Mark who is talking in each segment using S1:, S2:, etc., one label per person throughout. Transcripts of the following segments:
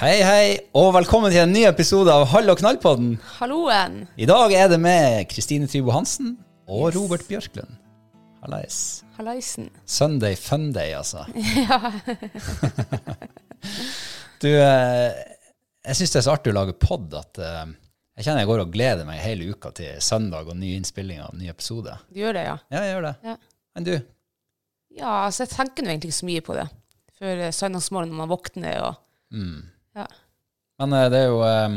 S1: Hei, hei, og velkommen til en ny episode av Hall og knall-podden.
S2: Halloen.
S1: I dag er det med Kristine Trybo Hansen og Robert Bjørklund. Hallais.
S2: Hallaisen.
S1: Sunday funday, altså.
S2: Ja.
S1: Du, eh, jeg syns det er så artig å lage pod at eh, jeg kjenner jeg går og gleder meg hele uka til søndag og ny innspilling av en ny episode.
S2: Du gjør det, ja?
S1: Ja, jeg gjør det.
S2: Ja.
S1: Men du,
S2: Ja, altså jeg tenker nå egentlig ikke så mye på det. Før eh, søndagsmorgen når man våkner og
S1: Mm.
S2: Ja.
S1: Men eh, det er jo eh,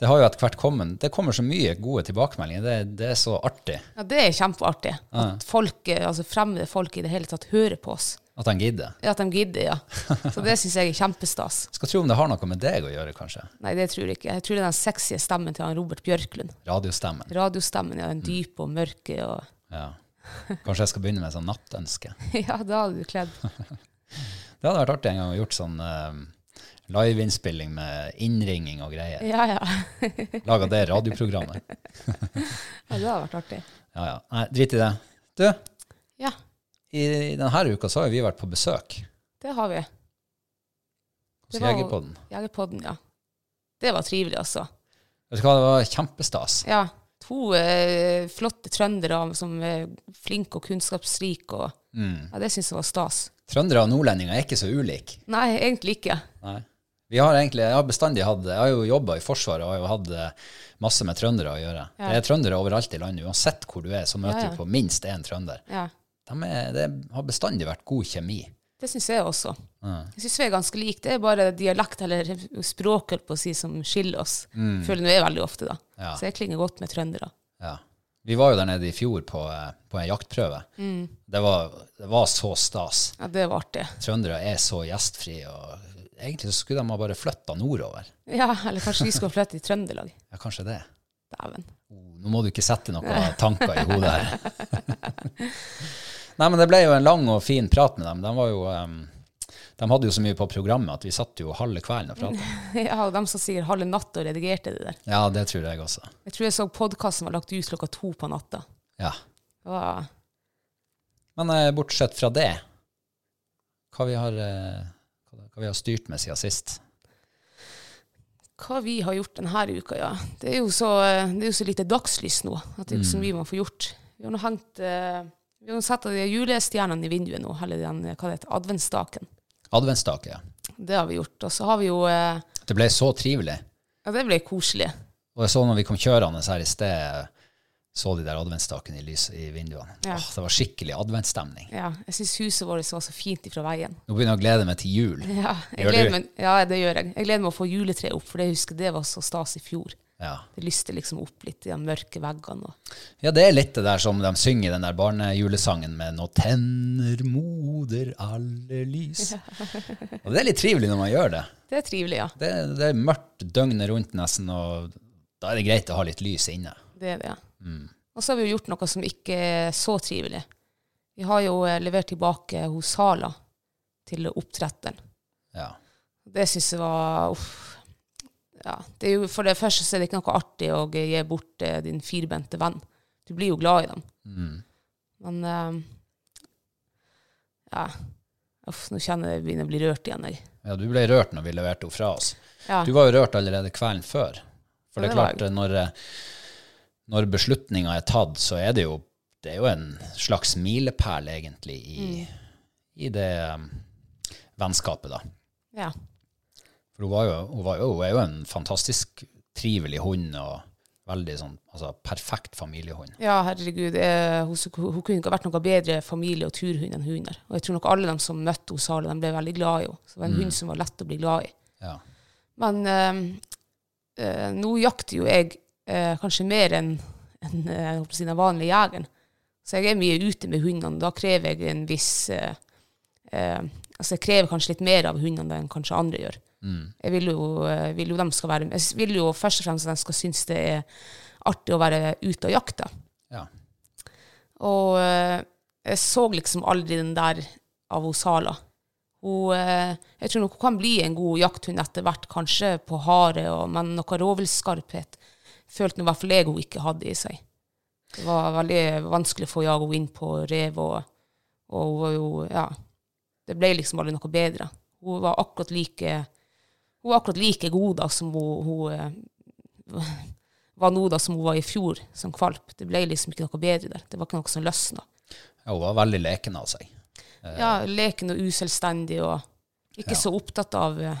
S1: Det har jo etter hvert kommet Det kommer så mye gode tilbakemeldinger. Det, det er så artig
S2: ja, det er kjempeartig. At folk, eh, altså fremmede folk i det hele tatt hører på oss.
S1: at han gidder.
S2: Ja, At de gidder, ja. Så det syns jeg er kjempestas.
S1: Skal tro om det har noe med deg å gjøre, kanskje.
S2: Nei, det tror jeg ikke. Jeg tror det er den sexy stemmen til han Robert Bjørklund.
S1: Radiostemmen.
S2: Radiostemmen, ja. Den dype og mørke og
S1: Ja. Kanskje jeg skal begynne med sånn nattønske.
S2: Ja, da hadde du kledd
S1: Det hadde vært artig en gang å gjort sånn eh, liveinnspilling med innringing og greier.
S2: Ja, ja. ja.
S1: Laga det radioprogrammet.
S2: Det hadde vært artig.
S1: Ja, ja. Nei, drit i det. Du,
S2: Ja,
S1: i denne uka så har jo vi vært på besøk
S2: det har vi.
S1: hos
S2: Det var-
S1: Jegerpodden.
S2: Jegerpodden, ja. Det var trivelig, altså.
S1: Vet du hva, det var kjempestas.
S2: Ja. To eh, flotte trøndere som er flinke og kunnskapsrike. Og, ja, det syns jeg var stas.
S1: Mm. Trøndere og nordlendinger er ikke så ulike.
S2: Nei, egentlig ikke.
S1: Nei. Vi har egentlig, jeg har bestandig hatt, jeg har jo jobba i Forsvaret og har jo hatt eh, masse med trøndere å gjøre.
S2: Ja.
S1: Det er trøndere overalt i landet. Uansett hvor du er, så møter
S2: Ja, ja.
S1: du på minst én trønder.
S2: Ja.
S1: De er, det har bestandig vært god kjemi.
S2: Det syns jeg også. Jeg syns vi er ganske like. Det er bare dialekt eller språk holdt på å si, som skiller oss. Føler nå jeg veldig ofte, da.
S1: Ja.
S2: Så jeg klinger godt med trøndere.
S1: Ja. Vi var jo der nede i fjor på, eh, på en jaktprøve. Det, var, det var så stas.
S2: Ja, det var artig.
S1: Trøndere er så gjestfrie. og Egentlig så skulle de ha bare flytta nordover.
S2: Ja, eller kanskje vi skal flytte til Trøndelag.
S1: Ja, kanskje det.
S2: Dæven.
S1: Nå må du ikke sette noen tanker i hodet her. Nei, men det ble jo en lang og fin prat med dem. De, var jo, em, de hadde jo så mye på programmet at vi satt jo halve kvelden og pratet.
S2: Ja, og dem som sier halve natta og redigerte det der.
S1: Ja, det tror jeg også.
S2: Jeg tror jeg så podkasten var lagt ut klokka to på natta.
S1: Ja.
S2: Det var
S1: Men eh, bortsett fra det, hva vi har, eh, hva vi har styrt med siden sist?
S2: hva vi har gjort denne uka, ja. Det er jo så, det er jo så lite dagslys nå. At det er jo ikke så mye man får gjort. Vi har nå hengt eh, Vi har nå satt de julestjernene i vinduet nå, eller den eh, hva det heter, adventsstaken.
S1: Adventsstake, ja.
S2: Det har vi gjort. Og så har vi jo eh,
S1: Det ble så trivelig.
S2: Ja, det ble koselig.
S1: Og jeg så når vi kom kjørende her i sted, så de der adventstakene i, lys, i vinduene.
S2: Ja.
S1: Åh, det var skikkelig adventsstemning.
S2: Ja, jeg syns huset vårt var så fint ifra veien.
S1: Nå begynner jeg å glede meg til jul.
S2: Ja, jeg
S1: Gjør
S2: gleder
S1: du?
S2: meg, ja, det gjør jeg. Jeg gleder meg å få juletreet opp, for det jeg husker det var så stas i fjor.
S1: Ja.
S2: Det lyste liksom opp litt i de mørke veggene. Og.
S1: ja, det er litt det der som de synger i den der barnejulesangen med Nå tenner moder alle lys. Og det er litt trivelig når man gjør det.
S2: Det er trivelig, ja.
S1: Det, det er mørkt døgnet rundt nesten, og da er det greit å ha litt lys inne.
S2: Det er det. Og så har vi jo gjort noe som ikke er så trivelig. Vi har jo eh, levert tilbake hos Sala til oppdretteren.
S1: Ja.
S2: Det syns jeg var uff. Ja, det er jo, for det første så er det ikke noe artig å gi bort eh, din firbente venn. Du blir jo glad i dem. Men eh, ja. Uff, nå kjenner jeg jeg begynner å bli rørt igjen. Jeg.
S1: ja, du ble rørt når vi leverte henne fra oss.
S2: Ja.
S1: Du var jo rørt allerede kvelden før. For
S2: Ja,
S1: det er
S2: det var jeg.
S1: klart, når, eh, når beslutninga er tatt, så er det jo, det er jo en slags milepæl, egentlig, i,
S2: Mm.
S1: i det eh, vennskapet, da.
S2: ja.
S1: For hun, var jo, hun, var jo, hun er jo en fantastisk trivelig hund, og veldig sånn altså, perfekt familiehund.
S2: Ja, herregud. eh, hun, su- hun kunne ikke ha vært noe bedre familie- og turhund enn hun er. Og jeg tror nok alle de som møtte hos Sala, de ble veldig glad i henne. Så Det var en hund som var lett å bli glad i.
S1: Ja.
S2: Men eh, eh, nå jakter jo jeg eh, kanskje mer enn enn, eh, jeg holdt på å si den vanlige jegeren. Så jeg er mye ute med hundene. Da krever jeg en viss eh, eh, Altså jeg krever kanskje litt mer av hundene enn kanskje andre gjør. Jeg vil jo, eh, vil jo dem skal være Jeg s- vil jo først og fremst at de skal synes det er artig å være ute og jakte.
S1: ja.
S2: Og eh, jeg så liksom aldri den der av hos Sala. Hun, eh, jeg tror nok hun kan bli en god jakthund etter hvert, kanskje på hare, og, men noe rovviltskarphet følte nå i hvert fall jeg hun ikke hadde i seg. Det var veldig vanskelig å få jage henne inn på rev, og, og hun var jo Ja. Det ble liksom aldri noe bedre. Hun var akkurat like Hun var akkurat like god da som hun, hun eh, var nå da som hun var i fjor, som kvalp. Det ble liksom ikke noe bedre der. Det var ikke noe som løsna.
S1: ja, hun var veldig leken av seg.
S2: Ja, leken og uselvstendig og ikke så opptatt av eh,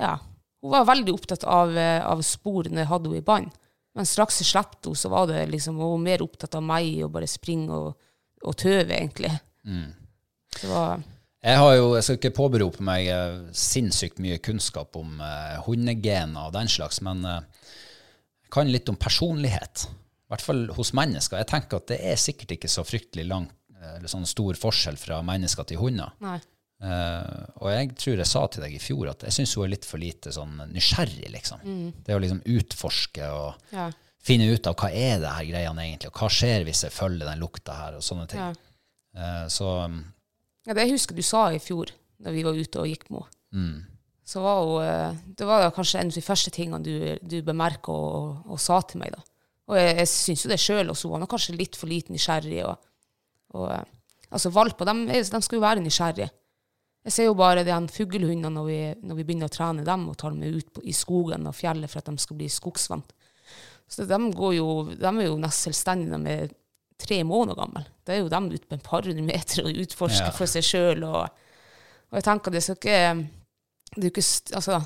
S2: Ja. Hun var veldig opptatt av, eh, av sporene jeg hadde henne i bånd. Men straks jeg slapp henne, så var det liksom hun var mer opptatt av meg og bare springe og, og tøve, egentlig. Det var
S1: Jeg, har jo, jeg skal ikke påberope meg eh, sinnssykt mye kunnskap om eh, hundegener og den slags, men eh, jeg kan litt om personlighet. I hvert fall hos mennesker. Jeg tenker at det er sikkert ikke så fryktelig lang, eh, eller sånn stor forskjell fra mennesker til hunder.
S2: Nei.
S1: Eh, og jeg tror jeg sa til deg i fjor at jeg syns hun er litt for lite sånn nysgjerrig, liksom. Det å liksom utforske og
S2: Ja.
S1: finne ut av hva er det her greiene egentlig, og hva skjer hvis jeg følger den lukta her, og sånne ting.
S2: Ja.
S1: Eh, så
S2: Ja, det husker du sa i fjor, når vi var ute og gikk med henne. Så var hun, eh, det var da kanskje en av de første tingene du, du bemerka og, og sa til meg. da. Og jeg, jeg syns jo det sjøl også. Hun var nok kanskje litt for lite nysgjerrig. Og, og, eh, altså, valper de, er- de skal jo være nysgjerrige. Jeg ser jo bare de fuglehundene når, vi- når vi begynner å trene dem og tar dem med ut på, i skogen og fjellet for at de skal bli skogsvant. Så de, går jo, de er jo nesten selvstendige. De er tre måneder gamle. Det er jo dem ute på et par hundre meter og utforsker
S1: Ja.
S2: for seg sjøl. Og, og jeg tenker det skal ikke Det, er jo ikke, st- altså,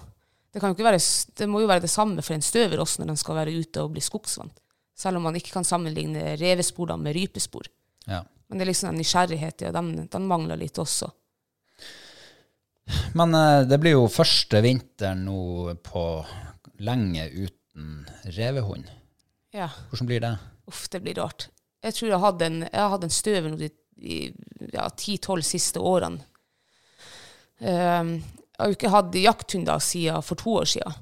S2: det, kan jo ikke være, s- det må jo være det samme for en støver også når den skal være ute og bli skogsvant. Selv om man ikke kan sammenligne revespor da med rypespor.
S1: ja.
S2: Men det er liksom den nysgjerrigheten, ja, den, den mangler litt også.
S1: Men eh, det blir jo første vinteren nå på lenge uten revehund.
S2: Ja.
S1: Hvordan blir det?
S2: Uff, det blir rart. Jeg tror jeg hadde en, jeg hadde en støver nå de, de ja, 10-12 siste årene. Ehm, jeg har jo ikke hatt jakthunder siden for to år siden.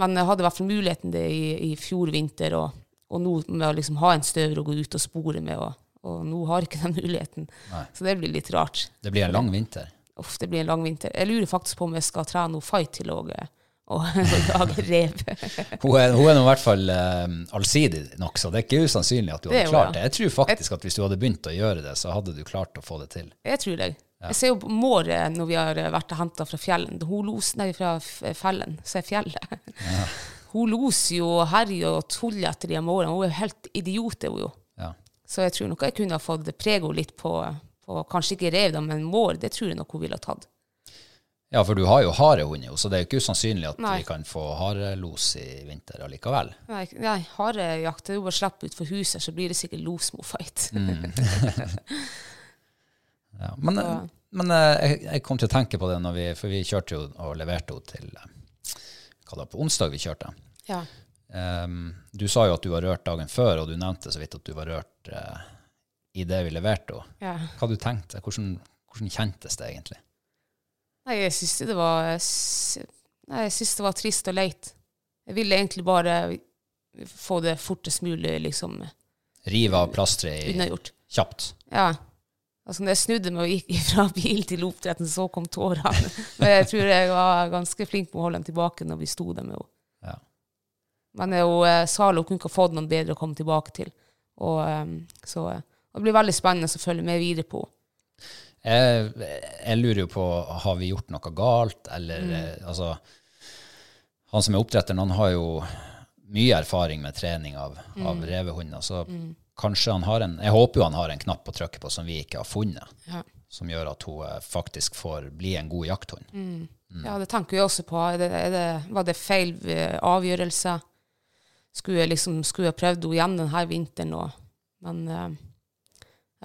S2: Men jeg hadde i hvert fall muligheten det i, i fjor vinter, og, og nå med å liksom ha en støver å gå ut og spore med, og, og nå har jeg ikke den muligheten. Så det blir litt rart.
S1: Det blir en lang vinter.
S2: Uff, det blir en lang vinter. Jeg lurer faktisk på om jeg skal trene noe fight til å å- å jage rev.
S1: Hun er, hun er nå i hvert fall eh, allsidig nok, så det er ikke usannsynlig at du
S2: Det
S1: hadde
S2: er hun, ja.
S1: klart det. Jeg tror faktisk at hvis du hadde begynt å gjøre det, så hadde du klart å få det til.
S2: Jeg tror det. Jeg ser jo på Måre når vi har vært og henta fra fjellen. Hun los nei, fra f- fellen, så er fjellet. Hun loser jo og herjer og tuller etter de mårene. Hun er jo helt idiot, er hun jo.
S1: Ja.
S2: Så jeg tror nok jeg kunne ha fått prege henne litt på, på kanskje ikke rev, da, men mår. Det tror jeg nok hun ville ha tatt.
S1: Ja, for du har jo harehund, jo, så det er jo ikke usannsynlig at
S2: Nei.
S1: vi kan få harelos i vinter allikevel.
S2: Nei, nei harejakt det er jo bare å slippe ut for huset, så blir det sikkert losmo-fight.
S1: Ja, men
S2: Så-
S1: men eh, jeg, jeg kom til å tenke på det, når vi, for vi kjørte jo og leverte henne til eh, hva da, På onsdag vi kjørte.
S2: ja.
S1: Ehm, du sa jo at du var rørt dagen før, og du nevnte så vidt at du var rørt eh, i det vi leverte henne.
S2: ja.
S1: Hva du tenkte Hvordan, hvordan kjentes det egentlig?
S2: Nei, jeg syns det var jeg sy- Nei, jeg syns det var trist og leit. Jeg ville egentlig bare få det fortest mulig liksom
S1: Rive av plasteret i-
S2: unnagjort.
S1: kjapt.
S2: Ja. Altså, når jeg snudde meg og gikk fra bil til oppdretten, så kom tårene. Men jeg tror jeg var ganske flink på å holde dem tilbake når vi sto der med henne.
S1: Ja.
S2: Men jeg, og, eh, Zalo kunne ikke ha fått noen bedre å komme tilbake til. Og, eh, så eh, det blir veldig spennende å følge med videre på.
S1: Jeg, jeg lurer jo på har vi gjort noe galt, eller eh, altså Han som er oppdretteren, han har jo mye erfaring med trening av, av revehunder, så kanskje han har en Jeg håper jo han har en knapp å trykke på som vi ikke har funnet,
S2: Ja.
S1: som gjør at hun eh, faktisk får bli en god jakthund.
S2: Ja, det tenker jeg også på. Er det, er det, var det feil eh, avgjørelse? Skulle jeg liksom skulle jeg prøvd henne igjen denne vinteren òg? Men, eh,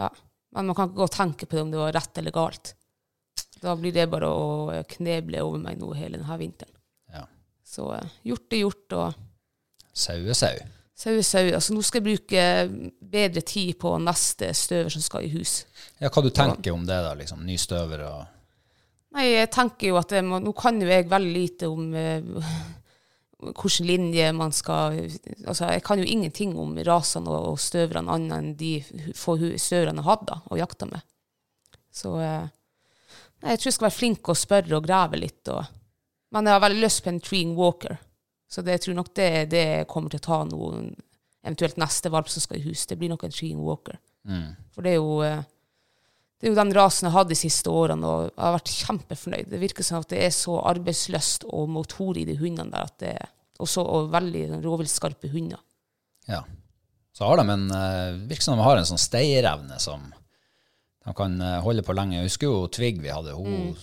S2: ja. Men man kan ikke gå og tenke på det om det var rett eller galt. Da blir det bare å kneble over meg nå hele denne vinteren.
S1: Ja.
S2: Så eh, gjort er gjort, og
S1: Sau er sau.
S2: sau er sau. Altså, nå skal jeg bruke eh, bedre tid på neste støver som skal i hus.
S1: Ja, hva du tenker om det, da? liksom, Ny støver og
S2: Nei, jeg tenker jo at jeg må, nå kan jo jeg veldig lite om eh, hvilken linje man skal Altså, jeg kan jo ingenting om rasene og, og støverne annet enn de hu- få hu- støverne jeg hadde og jakta med. Så eh, nei, jeg tror jeg skal være flink og spørre og grave litt. Og, men jeg har veldig lyst på en treeing walker, så det, jeg tror nok det er det jeg kommer til å ta nå. Eventuelt neste valp som skal i hus. Det blir nok en treeing walker. For det er jo eh, det er jo den rasen jeg hadde de siste årene, og jeg har vært kjempefornøyd. Det virker som at det er så arbeidsløst og motor i de hundene der, at det også, og veldig rovviltskarpe hunder.
S1: Ja. Så har de en eh, Virker som de har en sånn stayerevne som de kan eh, holde på lenge. Jeg husker jo Tvig vi hadde. Hun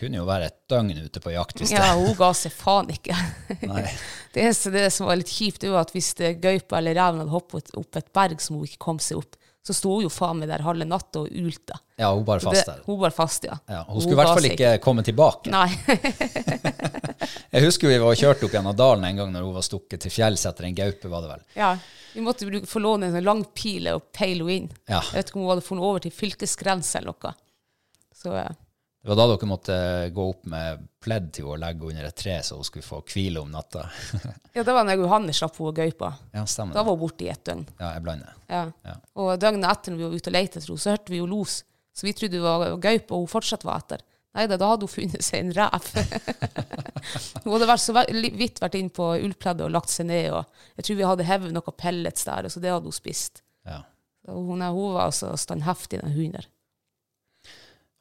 S1: kunne jo være et døgn ute på jakt hvis
S2: Mm. Ja, hun ga seg faen ikke.
S1: det Nei.
S2: Det eneste det som var litt kjipt, det var at hvis det gaupa eller reven hadde hoppet opp et berg som hun ikke kom seg opp, så sto hun jo faen meg der halve natta og ulte.
S1: Ja, hun bare fast der.
S2: Det- Hun var fast, ja.
S1: Ja, hun skulle i hvert
S2: ga
S1: fall
S2: seg
S1: ikke komme tilbake.
S2: Nei.
S1: Jeg husker vi var og kjørte opp gjennom dalen en gang når hun var stukket til fjells etter en gaupe, var det vel.
S2: Ja. Vi måtte bruke, få låne en sånn lang pile og peile henne inn.
S1: Ja.
S2: Jeg vet ikke om hun hadde funnet over til fylkesgrensa eller noe. Så eh,
S1: Det var da dere måtte eh, gå opp med pledd til henne og legge henne under et tre så hun skulle få hvile om natta.
S2: Ja, det var når Johanne slapp henne og gaupa.
S1: Ja, stemmer
S2: Da
S1: det.
S2: var hun borte i et døgn.
S1: Ja, jeg blander.
S2: Ja.
S1: Ja.
S2: Og døgnet etter når vi var ute og lette etter henne, så hørte vi jo los. Så vi trodde det var gaupe, og hun fortsatt var etter. Nei da, da hadde hun funnet seg en rev. hun hadde vært så ve- li- vidt vært inn på ullpleddet og lagt seg ned. Og jeg tror vi hadde hevet noe pellets der, så det hadde hun spist.
S1: Ja.
S2: Så hun, hun var altså standheftig, den hunden der.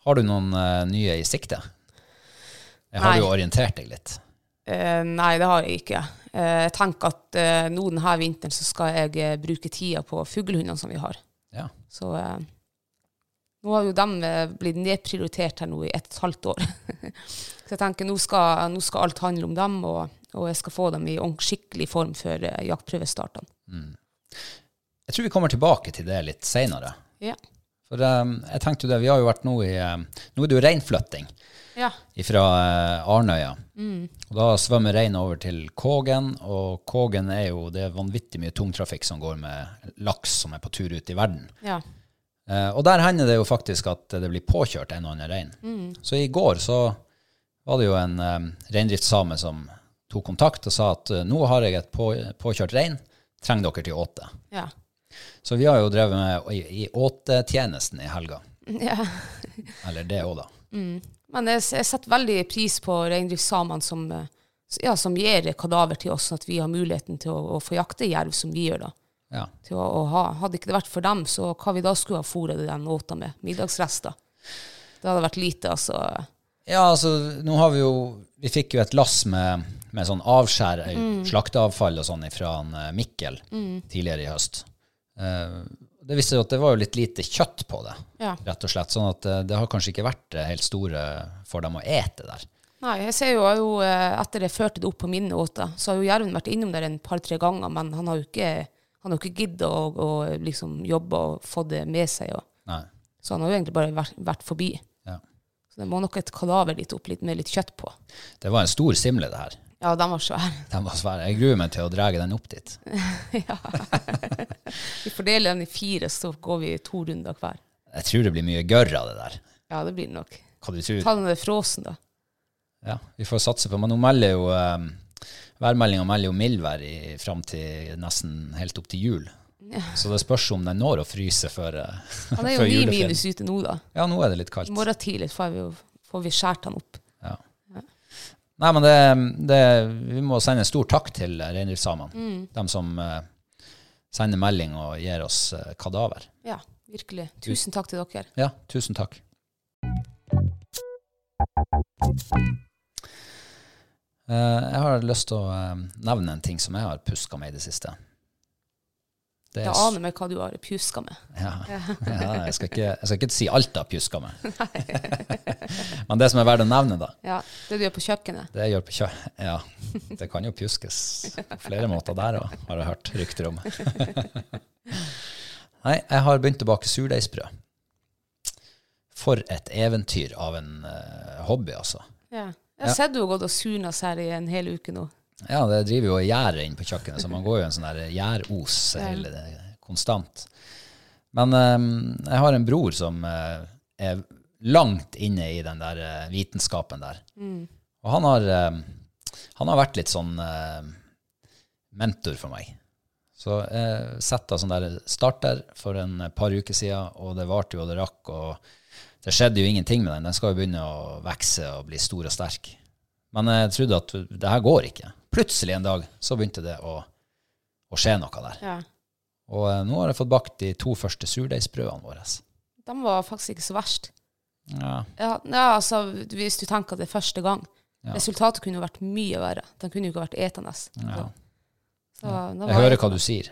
S1: Har du noen eh, nye i sikte? Jeg har
S2: Nei.
S1: jo orientert deg litt.
S2: Eh, nei, det har jeg ikke. Eh, jeg tenker at eh, nå denne vinteren så skal jeg eh, bruke tida på fuglehundene som vi har.
S1: Ja.
S2: Så eh, nå har jo de eh, blitt nedprioritert her nå i ett og et halvt år. så jeg tenker nå skal, nå skal alt handle om dem, og, og jeg skal få dem i ordent- skikkelig form før eh, jaktprøvestartene.
S1: Jeg tror vi kommer tilbake til det litt seinere.
S2: Ja.
S1: For eh, jeg tenkte jo det, vi har jo vært nå i eh, Nå er det jo reinflytting
S2: ja.
S1: fra Arnøya. Og da svømmer reinen over til Kågen, og Kågen er jo det er vanvittig mye tungtrafikk som går med laks som er på tur ut i verden.
S2: Ja.
S1: Eh, og der hender det jo faktisk at det blir påkjørt en og annen rein. Så i går så var det jo en um, reindriftssame som tok kontakt og sa at eh, nå har jeg et på, påkjørt rein, trenger dere til åte.
S2: Ja.
S1: Så vi har jo drevet med i, i åtetjenesten i helga.
S2: ja.
S1: Eller det òg, da.
S2: Men jeg, jeg setter veldig pris på reindriftssamene som, eh, s- ja, som gir kadaver til oss, sånn at vi har muligheten til å, å få jakte jerv som vi gjør da.
S1: Ja.
S2: Til å, å ha. Hadde ikke det vært for dem, så hva vi da skulle ha fôret den åta med? Middagsrester. Det hadde vært lite, altså.
S1: ja, altså nå har vi jo Vi fikk jo et lass med, med sånn avskjær, eh, slakteavfall og sånn fra Mikkel tidligere i høst. Eh, Det viste seg at det var jo litt lite kjøtt på det,
S2: Ja.
S1: rett og slett. Sånn at eh, det har kanskje ikke vært eh, helt store for dem å ete der.
S2: Nei, jeg ser jo, jeg har jo eh, etter jeg førte det opp på mine åter, så har jo jerven vært innom der en par-tre ganger, men han har jo ikke, han har jo ikke giddet å, å liksom jobbe og få det med seg. Og,
S1: Nei.
S2: så han har jo egentlig bare vært, vært forbi.
S1: Ja.
S2: Så det må nok et kadaver litt opp litt, med litt kjøtt på.
S1: Det var en stor simle, det her.
S2: Ja, den var svær.
S1: Den var svær. Jeg gruer meg til å dra den opp dit.
S2: ja. Vi fordeler den i fire, så går vi to runder hver.
S1: Jeg tror det blir mye gørr av det der.
S2: Ja, det blir det nok.
S1: Hva du tror?
S2: Ta den der frosen, da.
S1: Ja, vi får satse på. Men nå melder jo um, værmeldinga melder jo mildvær i- fram til nesten helt opp til jul. Så det spørs om den når å fryse før, eh,
S2: Han er
S1: før
S2: jo ni
S1: juleferien.
S2: minus ute nå, da.
S1: Ja, nå er det litt kaldt.
S2: I morgen tidlig får vi, får vi skjært han opp.
S1: Ja. Nei, men det, det, vi må sende en stor takk til reindriftssamene.
S2: Mm.
S1: De som eh, sender melding og gir oss eh, kadaver.
S2: Ja, virkelig. Tusen takk til dere.
S1: Ja, tusen takk. Eh, jeg har lyst til å eh, nevne en ting som jeg har puska med i det siste. Det
S2: Jeg aner meg hva du har pjuska med.
S1: ja. ja, jeg, skal ikke, jeg skal ikke si alt jeg har pjuska med. Men det som er verdt å nevne, da,
S2: Ja, Det du gjør på kjøkkenet.
S1: det gjør på kjø... Ja, det kan jo pjuskes på flere måter der òg, har jeg hørt rykter om. Nei, jeg har begynt å bake surdeigsbrød. For et eventyr av en eh, hobby, altså.
S2: Ja. Jeg har sett du har gått og surna seg her i en hel uke nå.
S1: Ja, det driver jo og gjerder inn på kjøkkenet, så man går jo i en sånn der gjæros hele det- konstant. Men eh, jeg har en bror som eh, er langt inne i den der eh, vitenskapen der. Og han har, eh, han har vært litt sånn eh, mentor for meg. Så jeg sette sånn der starter for en par uker siden, og det varte jo og det rakk, og det skjedde jo ingenting med den. Den skal jo begynne å vekse og bli stor og sterk. Men jeg trodde at det her går ikke. Plutselig en dag så begynte det å, å skje noe der.
S2: Ja.
S1: Og eh, nå har jeg fått bakt de to første surdeigsbrødene våre.
S2: De var faktisk ikke så verst.
S1: Ja,
S2: Ja, ja, altså, Hvis du tenker at det er første gang. Resultatet kunne jo vært mye verre. De kunne jo ikke vært etende.
S1: ja.
S2: Så, da var
S1: Jeg hører hva du sier.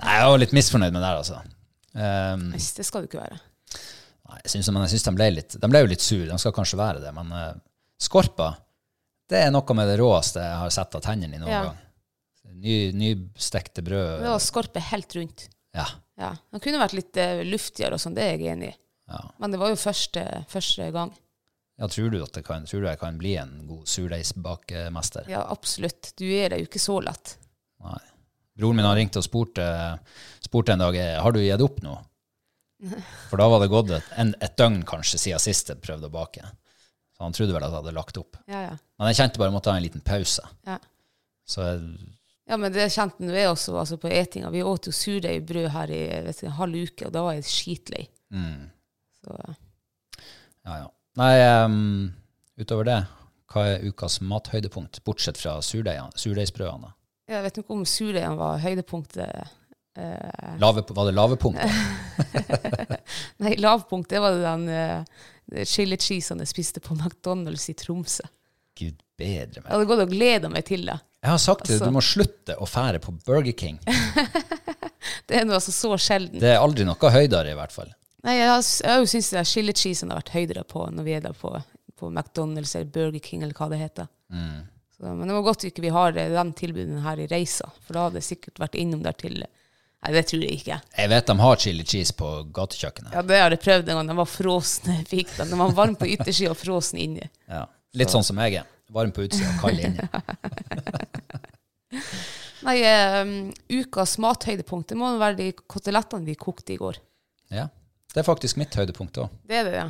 S1: Nei, jeg var litt misfornøyd med det her, altså. Um,
S2: Nei, det skal du ikke være.
S1: Nei, jeg synes, men jeg syns de ble litt De ble jo litt sure, de skal kanskje være det, men eh, skorpa det er noe med det råeste jeg har sett av tennene i noen
S2: Ja.
S1: gang. Ny, nystekte brød
S2: Det var skorpe helt rundt.
S1: Ja.
S2: Ja. Den kunne vært litt eh, luftigere og sånn, det er jeg enig i.
S1: Ja.
S2: Men det var jo første, første gang.
S1: ja. Tror du at det kan, tror du jeg kan bli en god surdeigsbakemester?
S2: Ja, absolutt. Du er deg jo ikke så lett.
S1: Nei. Broren min har ringt og spurt, eh, spurt en dag eh, har du gitt opp nå. For da var det gått et, en, et døgn kanskje siden sist jeg prøvde å bake. Så han trodde vel at jeg hadde lagt opp.
S2: Ja, ja.
S1: Men jeg kjente bare jeg måtte ha en liten pause.
S2: Ja,
S1: Så jeg
S2: ja men det kjente nå jeg også altså på etinga. Vi åt jo surdeigsbrød her i vet ikke, en halv uke, og da var jeg skitlei. Så
S1: mm, Ja, ja. Nei, ehm, utover det, hva er ukas mathøydepunkt, bortsett fra surdeigene- surdeigsbrødene?
S2: jeg vet ikke om surdeigen var høydepunktet. Eh,
S1: Lave, var det lavepunktet?
S2: nei, lavpunkt, det var det den eh, chili cheesen jeg spiste på McDonald's i Tromsø.
S1: Gud bedre
S2: Jeg
S1: meg.
S2: hadde gått og gleda meg til det.
S1: Jeg har sagt det,
S2: Altså-
S1: du må slutte å fære på Burger King.
S2: Det er nå altså så sjelden.
S1: Det er aldri noe høydere, i hvert fall.
S2: Nei, jeg har s- jeg har jo syntes det der chili cheesen har vært høydere på når vi er der på, på McDonald's eller Burger King eller hva det heter. Så, men det var godt ikke vi har eh, den tilbudene her i reisa, for da hadde jeg sikkert vært innom der til Nei, det tror jeg ikke.
S1: Jeg vet de har chili cheese på gatekjøkkenet.
S2: Ja, Det har jeg prøvd en gang. Den var frosen jeg fikk den. Den var varm på yttersida og frosen inni.
S1: Ja. Litt sånn som jeg er. Varm på utsida og kald inni.
S2: Nei, eh, ukas mathøydepunkt det må jo være de kotelettene vi kokte i går.
S1: Ja. Det er faktisk mitt høydepunkt òg.
S2: Det er det, ja.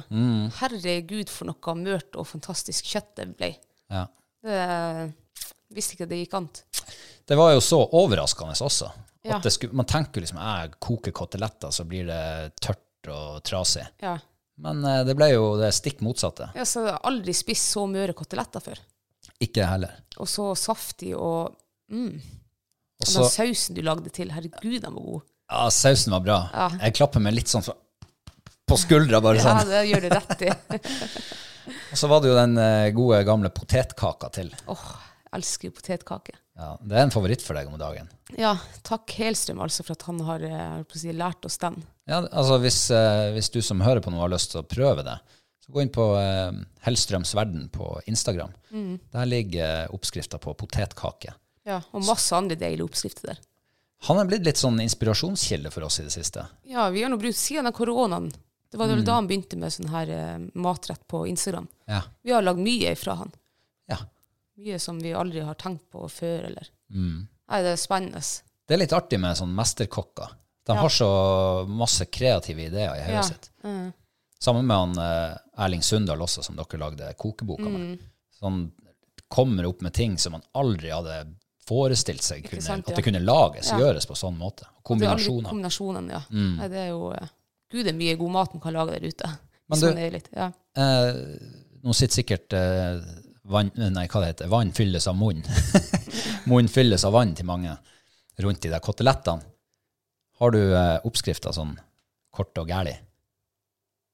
S2: Herregud, for noe mørt og fantastisk kjøtt det ble.
S1: Ja.
S2: Det, eh, visste ikke at det gikk an.
S1: Det var jo så overraskende også.
S2: Ja.
S1: At det skulle, man tenker liksom jeg koker koteletter, så blir det tørt og trasig.
S2: Ja.
S1: Men eh, det ble jo det stikk motsatte.
S2: Jeg har aldri spist så møre koteletter før.
S1: Ikke jeg heller.
S2: Og så saftig, og, mm,
S1: Og
S2: og
S1: så,
S2: den sausen du lagde til, herregud, den var god.
S1: ja, sausen var bra.
S2: Ja.
S1: Jeg klapper meg litt sånn fra, på skuldra, bare
S2: Ja,
S1: sånn.
S2: det gjør du rett i.
S1: Og så var det jo den eh, gode gamle potetkaka til.
S2: Åh, jeg elsker jo potetkake.
S1: Ja, det er en favoritt for deg om dagen.
S2: Ja, takk Helstrøm altså for at han har eh, jeg holdt på å si, lært oss den.
S1: Ja, altså hvis, eh, hvis du som hører på nå har lyst til å prøve det, så gå inn på eh, Hellstrøms verden på Instagram.
S2: Mm.
S1: Der ligger oppskrifta på potetkake.
S2: Ja, og masse andre deilige oppskrifter der.
S1: Han er blitt litt sånn inspirasjonskilde for oss i det siste.
S2: Ja, vi har nå brukt siden av koronaen. Det var vel da han begynte med sånn her eh, matrett på Instagram.
S1: Ja.
S2: Vi har lagd mye ifra han.
S1: ja.
S2: Mye som vi aldri har tenkt på før, eller. Nei, det er spennende.
S1: Det er litt artig med sånn mesterkokker. De har så masse kreative ideer i hodet
S2: Ja. Mm.
S1: sitt. Sammen med han eh, Erling Sundal også, som dere lagde kokeboka
S2: Mm.
S1: med. Så han kommer opp med ting som man aldri hadde forestilt seg kunne,
S2: sant,
S1: at
S2: ja.
S1: det kunne lages
S2: Ja.
S1: gjøres på sånn måte.
S2: Det er aldri-
S1: Kombinasjoner.
S2: Kombinasjonen, ja. Nei, det er jo eh, Gud, det er mye god mat man kan lage der ute.
S1: Men
S2: Hvis
S1: du-
S2: man er litt, ja.
S1: Eh, nå sitter sikkert eh, vann, nei, hva det heter, vann fylles av munn. munn fylles av vann til mange rundt de der kotelettene. Har du eh, oppskrifter sånn kort og gærlig?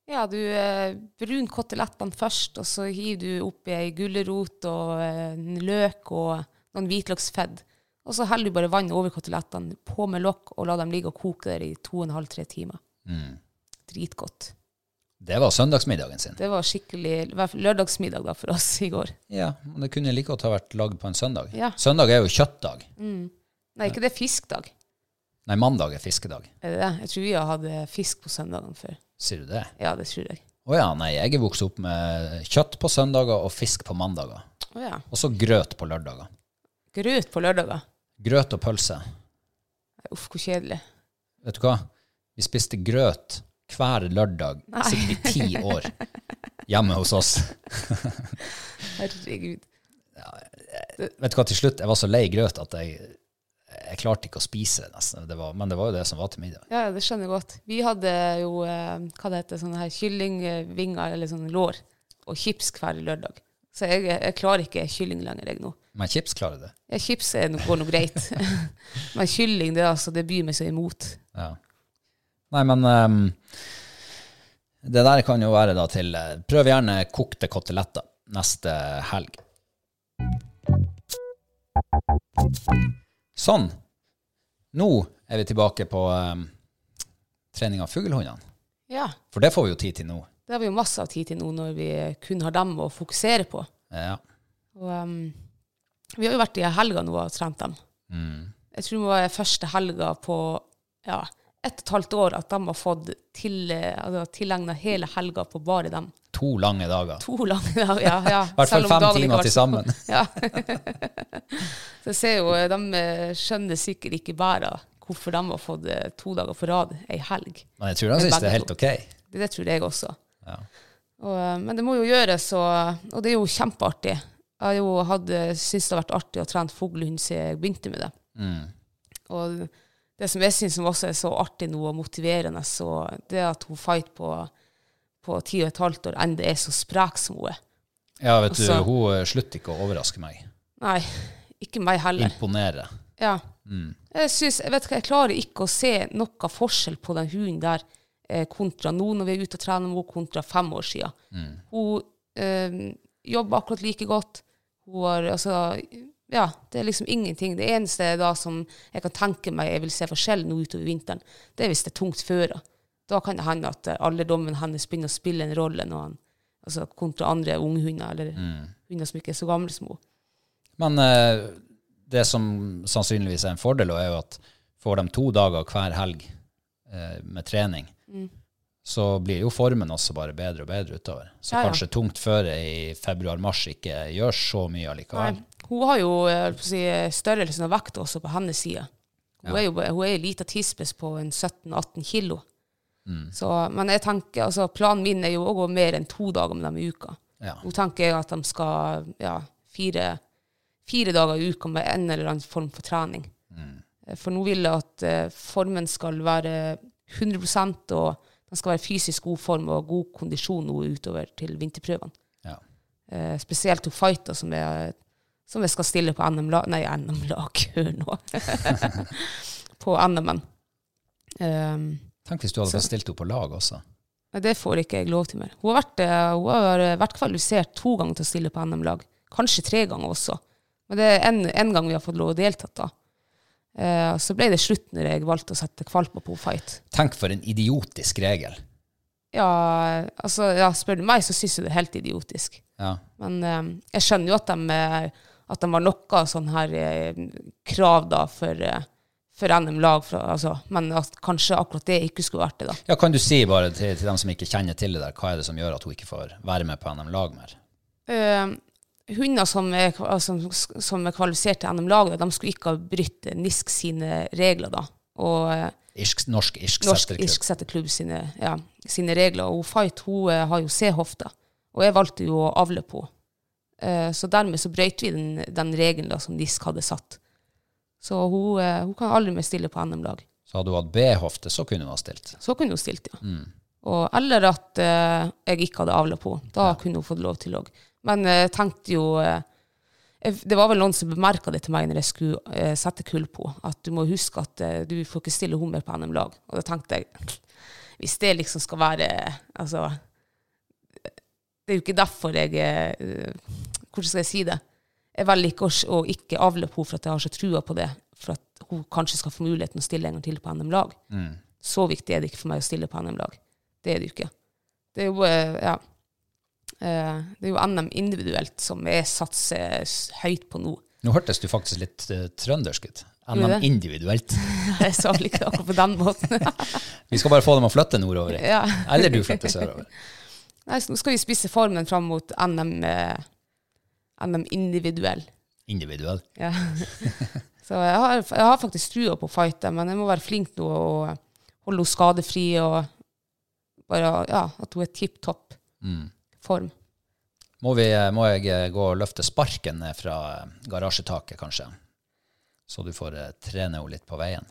S2: Ja, du eh, brun kotelettene først, og så hiver du oppi ei gulrot og eh, en løk og noen hvitløksfedd. Og så heller du bare vann over kotelettene, på med lokk, og la dem ligge og koke der i to og en halv, tre timer. Dritgodt.
S1: Mm. Det var søndagsmiddagen sin.
S2: Det var skikkelig i hvert fall lørdagsmiddag da for oss i går.
S1: Ja, men det kunne like godt ha vært lagd på en søndag.
S2: Ja.
S1: Søndag er jo kjøttdag.
S2: Nei, ikke det er fiskdag.
S1: Nei, mandag er fiskedag.
S2: Er det det? Jeg tror vi har hatt fisk på søndagene før.
S1: Sier du det?
S2: Ja, det tror jeg.
S1: Å ja, nei, jeg er vokst opp med kjøtt på søndager og fisk på mandager.
S2: Å ja.
S1: Og så grøt på lørdager.
S2: Grøt på lørdager.
S1: Grøt og pølse.
S2: Uff, hvor kjedelig.
S1: Vet du hva? Vi spiste grøt hver lørdag sikkert i ti år hjemme hos oss.
S2: Herregud.
S1: Vet du hva, til slutt, jeg var så lei grøt at jeg, jeg klarte ikke å spise det nesten. Det var, men det var jo det som var til middag.
S2: Ja, ja, det skjønner jeg godt. Vi hadde jo eh, hva det heter, sånne her kyllingvinger eller sånne lår og chips hver lørdag. Så jeg, jeg klarer ikke kylling lenger, jeg nå.
S1: Men chips klarer det.
S2: Ja, chips er, no- går nå greit. Men kylling, det, er altså, det byr meg så imot.
S1: Ja. Nei, men ehm, det der kan jo være da til eh, Prøv gjerne kokte koteletter neste helg. Sånn. Nå er vi tilbake på ehm, trening av fuglehundene.
S2: Ja,
S1: For det får vi jo tid til nå.
S2: det har vi jo masse av tid til nå når vi kun har dem å fokusere på.
S1: Ja.
S2: Og, em, vi har jo vært i helga nå og trent dem.
S1: Mm.
S2: Jeg tror det var første helga på ja, ett og et halvt år at de har fått til, altså, tilegna hele helga på bare dem.
S1: To lange dager.
S2: To lange dager, ja. ja.
S1: I hvert fall
S2: Selv om
S1: fem
S2: dagene ikke
S1: timer
S2: har
S1: til
S2: vært-
S1: sammen.
S2: Ja. Så jeg ser jo, eh, de eh, skjønner sikkert ikke bæra hvorfor de har fått eh, to dager på rad ei helg.
S1: Men jeg tror de syns det er helt ok.
S2: Det, det tror jeg også.
S1: Ja.
S2: Og, eh, men det må jo gjøres, og, og det er jo kjempeartig. Jeg har jo hatt, eh, synes det har vært artig å trene fuglehund siden jeg begynte med det. Og det som jeg syns også er så artig nå og motiverende, så det er at hun Fight på, på ti og et halvt år ennå er så sprek som hun er.
S1: Ja, vet du,
S2: Altså-
S1: hun eh, slutter ikke å overraske meg.
S2: Nei, ikke meg heller.
S1: Imponere.
S2: Ja. Jeg, synes, jeg vet ikke, jeg klarer ikke å se noe forskjell på den hunden der eh, kontra nå når vi er ute og trener med henne, kontra fem år siden. Hun eh, jobber akkurat like godt. Hun har, altså, ja, det er liksom ingenting. Det eneste da som jeg kan tenke meg jeg vil se forskjell nå utover vinteren, det er hvis det er tungt føre. Da kan det hende at eh, alderdommen hennes begynner å spille en rolle når han, altså kontra andre unghunder, eller hunder som ikke er så gamle som hun.
S1: Men eh, det som sannsynligvis er en fordel, og er jo at får de to dager hver helg eh, med trening,
S2: Mm.
S1: så blir jo formen også bare bedre og bedre utover. Så
S2: Ja, ja.
S1: kanskje tungt føre i februar-mars ikke gjør så mye allikevel.
S2: Nei. Hun har jo eh, holdt på å si, størrelsen av vekt også på hennes side. Hun er jo bare- hun er en liten tispes på en 17-18 kilo. Så, men jeg tenker, altså, planen min er jo å gå mer enn to dager med dem i uka.
S1: Ja.
S2: Nå tenker jeg at de skal ja, fire, fire dager i uka med en eller annen form for trening.
S1: Mm.
S2: Eh, For nå vil jeg at eh, formen skal være 100 og den skal være fysisk god form og god kondisjon nå utover til vinterprøvene.
S1: Ja.
S2: Eh, spesielt to fighter som jeg, som jeg skal stille på NM-lag Nei, NM-lag, hør nå. på NM-en. Um,
S1: Tenk hvis du hadde
S2: Så-
S1: fått stilt henne på lag også.
S2: nei, det får ikke jeg lov til mer. eh, Hun har vært, eh, hun har vært kvalifisert to ganger til å stille på NM-lag. Kanskje tre ganger også. Men det er en, en gang vi har fått lov å delta, da. Eh, så ble det slutt når jeg valgte å sette kvalpa på fight.
S1: Tenk for en idiotisk regel.
S2: Ja, altså, ja, spør du meg, så syns jeg det er helt idiotisk.
S1: Ja.
S2: Men eh, jeg skjønner jo at de, eh, at de har noe sånn her eh, krav da for, eh, for NM-lag, fra- altså, men at kanskje akkurat det ikke skulle vært det, da.
S1: ja, kan du si bare til, til dem som ikke kjenner til det der, hva er det som gjør at hun ikke får være med på NM-lag mer?
S2: Eh, hunder som er, kva- altså, som- som er kvalifisert til NM-laget, de skulle ikke ha brytt NISK sine regler, da. Og eh,
S1: Irsk, norsk irsk
S2: Norsk
S1: setterklubb.
S2: Irsk Setterklubb sine, ja, sine regler. Og Fight hun eh, har jo C-hofte, og jeg valgte jo å avle på. Eh, Så dermed så brøyt vi den, den regelen da, som NISK hadde satt. Så hun, eh, hun kan aldri mer stille på NM-lag.
S1: Så hadde hun hatt B-hofte, så kunne hun ha stilt.
S2: Så kunne hun stilt, ja. Og, eller at eh, jeg ikke hadde avla på. Da kunne hun fått lov til òg. Men jeg tenkte jo eh, jeg- Det var vel noen som bemerka det til meg når jeg skulle eh, sette kull på, at du må huske at eh, du får ikke stille hummer på NM-lag. Og da tenkte jeg Hvis det liksom skal være Altså eh, Det er jo ikke derfor jeg eh, Hvordan skal jeg si det? Jeg velger ikke å s- å ikke avle på for at jeg har så trua på det, for at hun kanskje skal få muligheten å stille en gang til på NM-lag så viktig er det ikke for meg å stille på NM-lag. Det er det jo ikke. Det er jo, eh, ja. Eh, det er jo NM individuelt som jeg satser s- høyt på nå.
S1: Nå hørtes du faktisk litt eh, trøndersk ut.
S2: du
S1: NM
S2: det?
S1: individuelt.
S2: Jeg sa vel ikke det akkurat på den måten.
S1: Vi skal bare få dem å flytte nordover.
S2: ja.
S1: Eller du flytter sørover.
S2: Nei, så nå skal vi spisse formen fram mot NM, eh, NM individuell.
S1: Individuell.
S2: Ja. så jeg har, jeg har faktisk trua på å fighte, men jeg må være flink nå og holde henne skadefri og bare, ja, at hun er tipp topp form.
S1: Må, vi, må jeg eh, gå og løfte sparken ned fra eh, garasjetaket, kanskje? Så du får eh, trene henne litt på veien.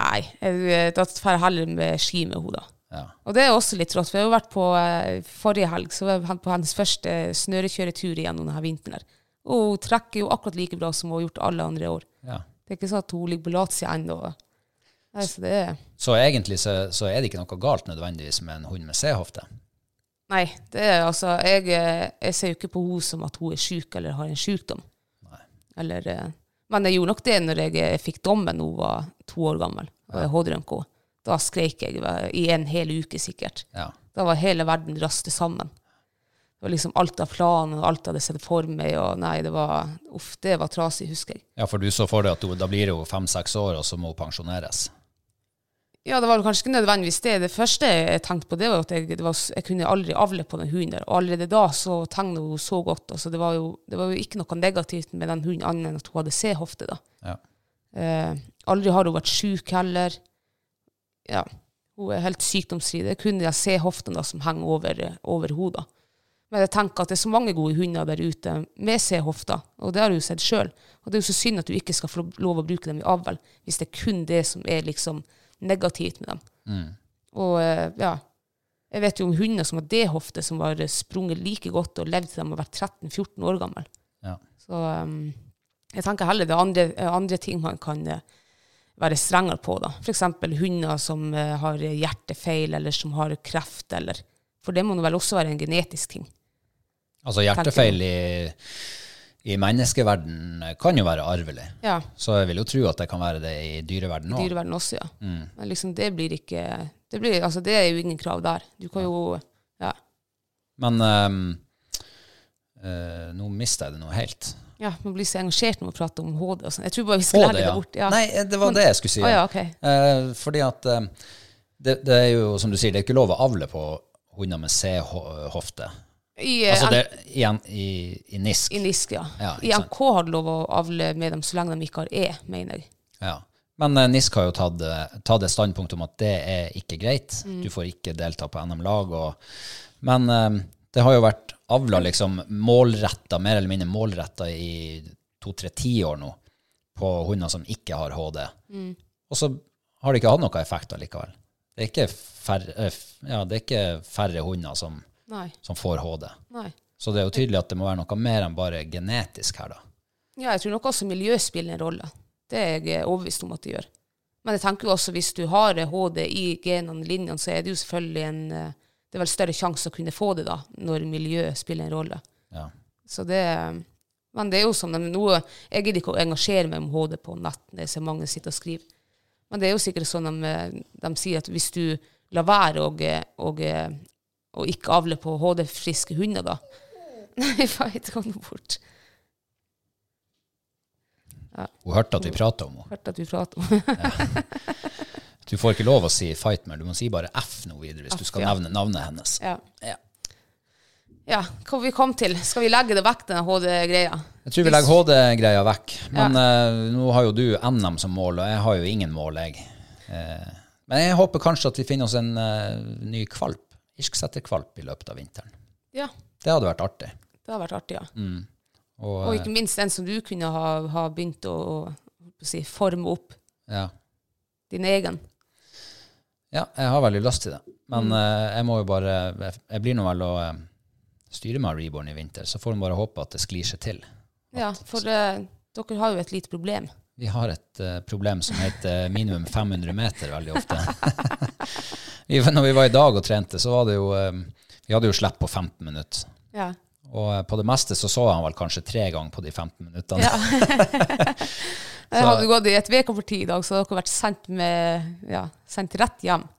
S2: Nei, jeg, da drar jeg heller med ski med henne, da.
S1: Ja.
S2: Og det er også litt rått, for jeg har jo vært på eh, forrige helg så var jeg på hennes første snørekjøretur igjennom denne vinteren. her. Og hun trekker jo akkurat like bra som hun har gjort alle andre år.
S1: Ja.
S2: Det er ikke sånn at hun ligger på latsida ennå. Nei, så det er
S1: Så egentlig så, så er det ikke noe galt nødvendigvis med en hund med C-hofte.
S2: Nei, det er altså Jeg, eh, jeg ser jo ikke på henne som at hun er syk eller har en sykdom. Eller, eh, men jeg gjorde nok det når jeg eh, fikk dommen da hun var to år gammel, og jeg HD-rømka henne. Da skreik jeg eh, i en hel uke sikkert.
S1: Ja.
S2: Da var hele verden raste sammen. Det var liksom alt av planen og alt jeg hadde sett for meg. og nei, Det var uff, det var trasig, husker jeg.
S1: ja, for du så for deg at hun, da blir hun fem-seks år, og så må hun pensjoneres.
S2: Ja, Det var kanskje ikke nødvendigvis det. Det første jeg tenkte på, det var at jeg, det var, jeg kunne aldri avle på den hunden. der. Og allerede da så tegna hun så godt. altså det var, jo, det var jo ikke noe negativt med den hunden annet enn at hun hadde C-hofte. da.
S1: Ja.
S2: Eh, aldri har hun vært syk heller. Ja, hun er helt sykdomsfri. Det er kun de C-hoftene da som henger over, over hodet. Men jeg tenker at det er så mange gode hunder der ute med C-hofter, og det har hun sett sjøl. Og det er jo så synd at du ikke skal få lov å bruke dem i avl, hvis det er kun det som er liksom negativt med dem. Og eh, ja, jeg vet jo om hunder som har D-hofte, som har sprunget like godt og levd til de har vært 13-14 år gammel.
S1: Ja.
S2: Så ehm, jeg tenker heller det er andre, eh, andre ting man kan eh, være strengere på. da. F.eks. hunder som eh, har hjertefeil, eller som har kreft, eller For det må nå vel også være en genetisk ting.
S1: Altså hjertefeil i, i menneskeverden kan jo være arvelig.
S2: Ja.
S1: Så jeg vil jo tro at det kan være det i dyreverden òg.
S2: Dyreverden også, ja.
S1: Mm.
S2: Men liksom det blir ikke det, blir, altså, det er jo ingen krav der. Du kan jo Ja.
S1: Men ehm, eh, nå mista jeg det nå helt.
S2: ja man blir så engasjert når man prater om HD og sånn. Jeg tror bare vi skal
S1: Få
S2: lære
S1: det,
S2: det
S1: ja.
S2: bort. Ja.
S1: Nei, eh, det var
S2: Men-
S1: det jeg skulle si.
S2: Å ja, ok.
S1: Eh, fordi at eh, det, det er jo, som du sier, det er ikke lov å avle på hunder med C-hofte.
S2: I, eh,
S1: Altså
S2: N-
S1: det igjen i, i NISK.
S2: I NISK, ja.
S1: Ja,
S2: I
S1: ikke sant.
S2: NK har du lov å avle med dem så lenge de ikke har E, mener jeg.
S1: Ja. Men eh, NISK har jo tatt, eh, tatt et standpunkt om at det er ikke greit. Du får ikke delta på NM-lag. Og, men eh, det har jo vært avla liksom målretta, mer eller mindre målretta i to-tre tiår nå, på hunder som ikke har HD. Og så har det ikke hatt noen effekt allikevel. Det er ikke færre, eh, f- ja, det er ikke færre hunder som,
S2: Nei.
S1: som får HD.
S2: Nei.
S1: Så det er jo tydelig at det må være noe mer enn bare genetisk her, da.
S2: Ja, jeg tror nok også miljø spiller en rolle. Det er jeg overbevist om at det gjør. Men jeg tenker jo også hvis du har HD i genene, linjene, så er det jo selvfølgelig en eh, Det er vel større sjanse å kunne få det da, når miljø spiller en rolle.
S1: Ja.
S2: Så det Men det er jo som de nå Jeg gidder ikke å engasjere meg om HD på nettene, så mange sitter og skriver. Men det er jo sikkert sånn de, de sier at hvis du lar være å og, og ikke avle på HD-friske hunder, da Nei, feit, kom nå bort.
S1: Hun hørte at vi prata om henne.
S2: Hørte at vi prater om
S1: Du får ikke lov å si Fightman, du må si bare F nå videre hvis du skal
S2: ja.
S1: nevne navnet hennes.
S2: ja.
S1: Ja.
S2: ja, hva vi kom til? Skal vi legge det vekk, den HD-greia?
S1: Jeg tror vi legger HD-greia vekk. Men eh, nå har jo du NM som mål, og jeg har jo ingen mål, jeg. Eh, men jeg håper kanskje at vi finner oss en eh, ny kvalp. Irsksetterkvalp i løpet av vinteren.
S2: Ja,
S1: Det hadde vært artig.
S2: det har vært artig, ja.
S1: Og,
S2: Og
S1: eh,
S2: ikke minst en som du kunne ha, ha begynt å, å si, forme opp
S1: ja.
S2: din egen.
S1: ja, jeg har veldig lyst til det.
S2: Mm.
S1: Men eh, jeg må jo bare Jeg, jeg blir nå vel å eh, styre med Reborn i vinter, så får man bare håpe at det sklir seg til.
S2: Ja, for eh, dere har jo et lite problem.
S1: Vi har et eh, problem som heter eh, minimum 500 meter veldig ofte. vi, når vi var i dag og trente, så var det jo eh, Vi hadde jo slipp på 15 minutter.
S2: Ja.
S1: Og eh, på det meste så så han vel kanskje tre ganger på de 15 minuttene.
S2: ja. Jeg hadde gått i et uke for ti i dag, så dere har vært sendt, med, ja, sendt rett hjem.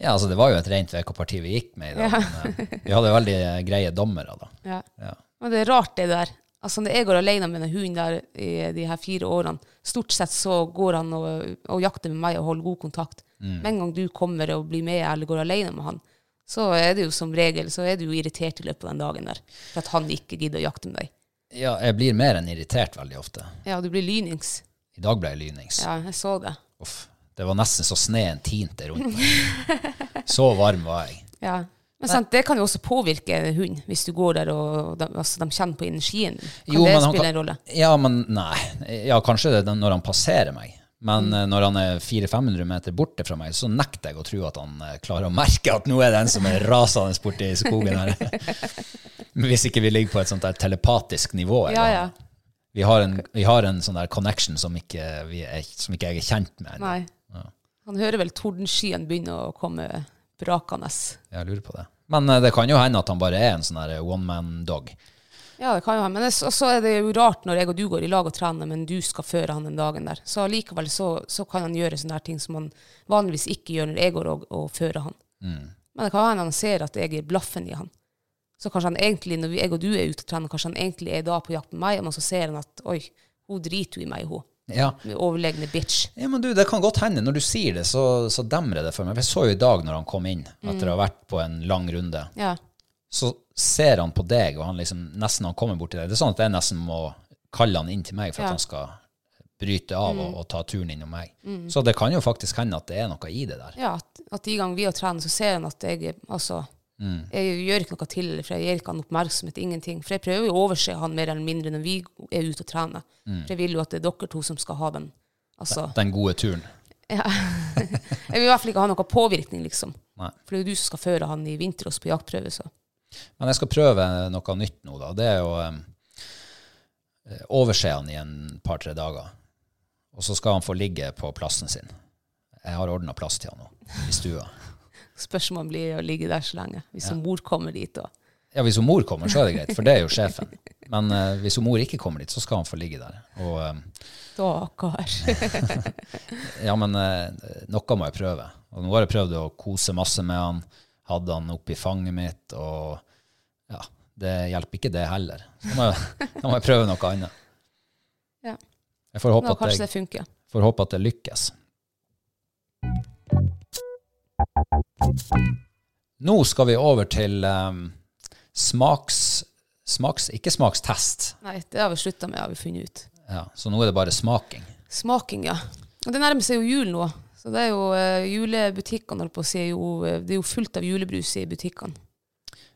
S1: Ja, altså Det var jo et rent VK-parti vi gikk med i dag. Men, eh, vi hadde veldig eh, greie dommere, da.
S2: Ja.
S1: Ja.
S2: Og det er rart, det der. Altså, når jeg går alene med den hunden der i de her fire årene, stort sett så går han og, og jakter med meg og holder god kontakt.
S1: Mm.
S2: Med en gang du kommer og blir med eller går alene med han, så er det jo som regel så er du jo irritert i løpet av den dagen der, for at han ikke gidder å jakte med deg.
S1: Ja, jeg blir mer enn irritert veldig ofte.
S2: Ja, du blir lynings.
S1: I dag ble jeg lynings.
S2: Ja, jeg så det.
S1: Uff. Det var nesten så sneen tinte rundt meg. Så varm var jeg.
S2: Ja. Men sant, det kan jo også påvirke en hund, hvis du går der og de, altså, de kjenner på energien. din. Kan
S1: Jo,
S2: det
S1: men han
S2: spille
S1: kan-
S2: en rolle?
S1: Ja, men nei. Ja, kanskje det er når han passerer meg. Men
S2: Mm.
S1: eh, når han er 400-500 meter borte fra meg, så nekter jeg å tro at han eh, klarer å merke at nå er det en som er rasende borti skogen her. Hvis ikke vi ligger på et sånt der telepatisk nivå.
S2: Ja,
S1: eller-
S2: ja.
S1: Vi, har en, vi har en sånn der connection som ikke, vi er, som ikke jeg er kjent med. ennå.
S2: Nei. Han hører vel tordenskyen begynne å komme brakende.
S1: Jeg lurer på det. Men eh, det kan jo hende at han bare er en sånn der one man dog.
S2: Ja, det kan jo hende. Men det, og så er det jo rart når jeg og du går i lag og trener, men du skal føre han den dagen der. Så likevel så, så kan han gjøre sånne her ting som han vanligvis ikke gjør når jeg går og, og fører han. Men det kan hende han ser at jeg er blaffen i han. Så kanskje han egentlig, når vi- jeg og du er ute og trener, kanskje han egentlig er da på jakt med meg, men så ser han at oi, hun driter jo i meg, hun.
S1: Ja.
S2: Hun er Overlegne bitch.
S1: Ja, men du, Det kan godt hende. Når du sier det, så, så demrer det for meg. For Jeg så jo i dag når han kom inn, etter å ha vært på en lang runde,
S2: Ja.
S1: så ser han på deg, og han liksom, nesten han kommer bort til deg. Det er sånn at jeg nesten må kalle han inn til meg for
S2: Ja.
S1: at han skal bryte av og, og ta turen innom meg. Så det kan jo faktisk hende at det er noe i det der.
S2: Ja, at, at de gangene vi har trent, så ser han at jeg altså, jeg gjør ikke noe til, for jeg gir ikke han oppmerksomhet, ingenting. For jeg prøver jo å overse han mer eller mindre når vi er ute og trener. For jeg vil jo at det er dere to som skal ha den. Altså,
S1: Den gode turen.
S2: ja. jeg vil i hvert fall ikke ha noen påvirkning, liksom.
S1: Nei.
S2: For det er jo du som skal føre han i vinterås på jaktprøve, så.
S1: Men jeg skal prøve noe nytt nå, da. Det er å eh, overse han i en par-tre dager. Og så skal han få ligge på plassen sin. Jeg har ordna plass til han nå, i stua.
S2: Spørsmålet blir å ligge der så lenge, hvis ja. mor kommer dit og
S1: Ja, hvis hun mor kommer, så er det greit, for det er jo sjefen. Men eh, hvis hun mor ikke kommer dit, så skal han få ligge der. Og eh,
S2: Stakkar.
S1: ja, men eh, noe må jeg prøve. Og nå har jeg prøvd å kose masse med han, hadde han oppi fanget mitt, og ja, det hjelper ikke det heller. Da må jeg, da må jeg prøve noe annet.
S2: ja.
S1: Jeg får
S2: Nå
S1: håpe, at
S2: kanskje det
S1: jeg,
S2: funker.
S1: får håpe at det lykkes. Nå skal vi over til eh, smaks, smaks... Ikke smakstest.
S2: Nei, det har vi slutta med, har vi funnet ut.
S1: Ja, så nå er det bare smaking.
S2: Smaking, ja. Og det nærmer seg jo jul nå. Så det er jo eh, julebutikkene, holdt på å si, er jo, eh, det er jo fullt av julebrus i butikkene.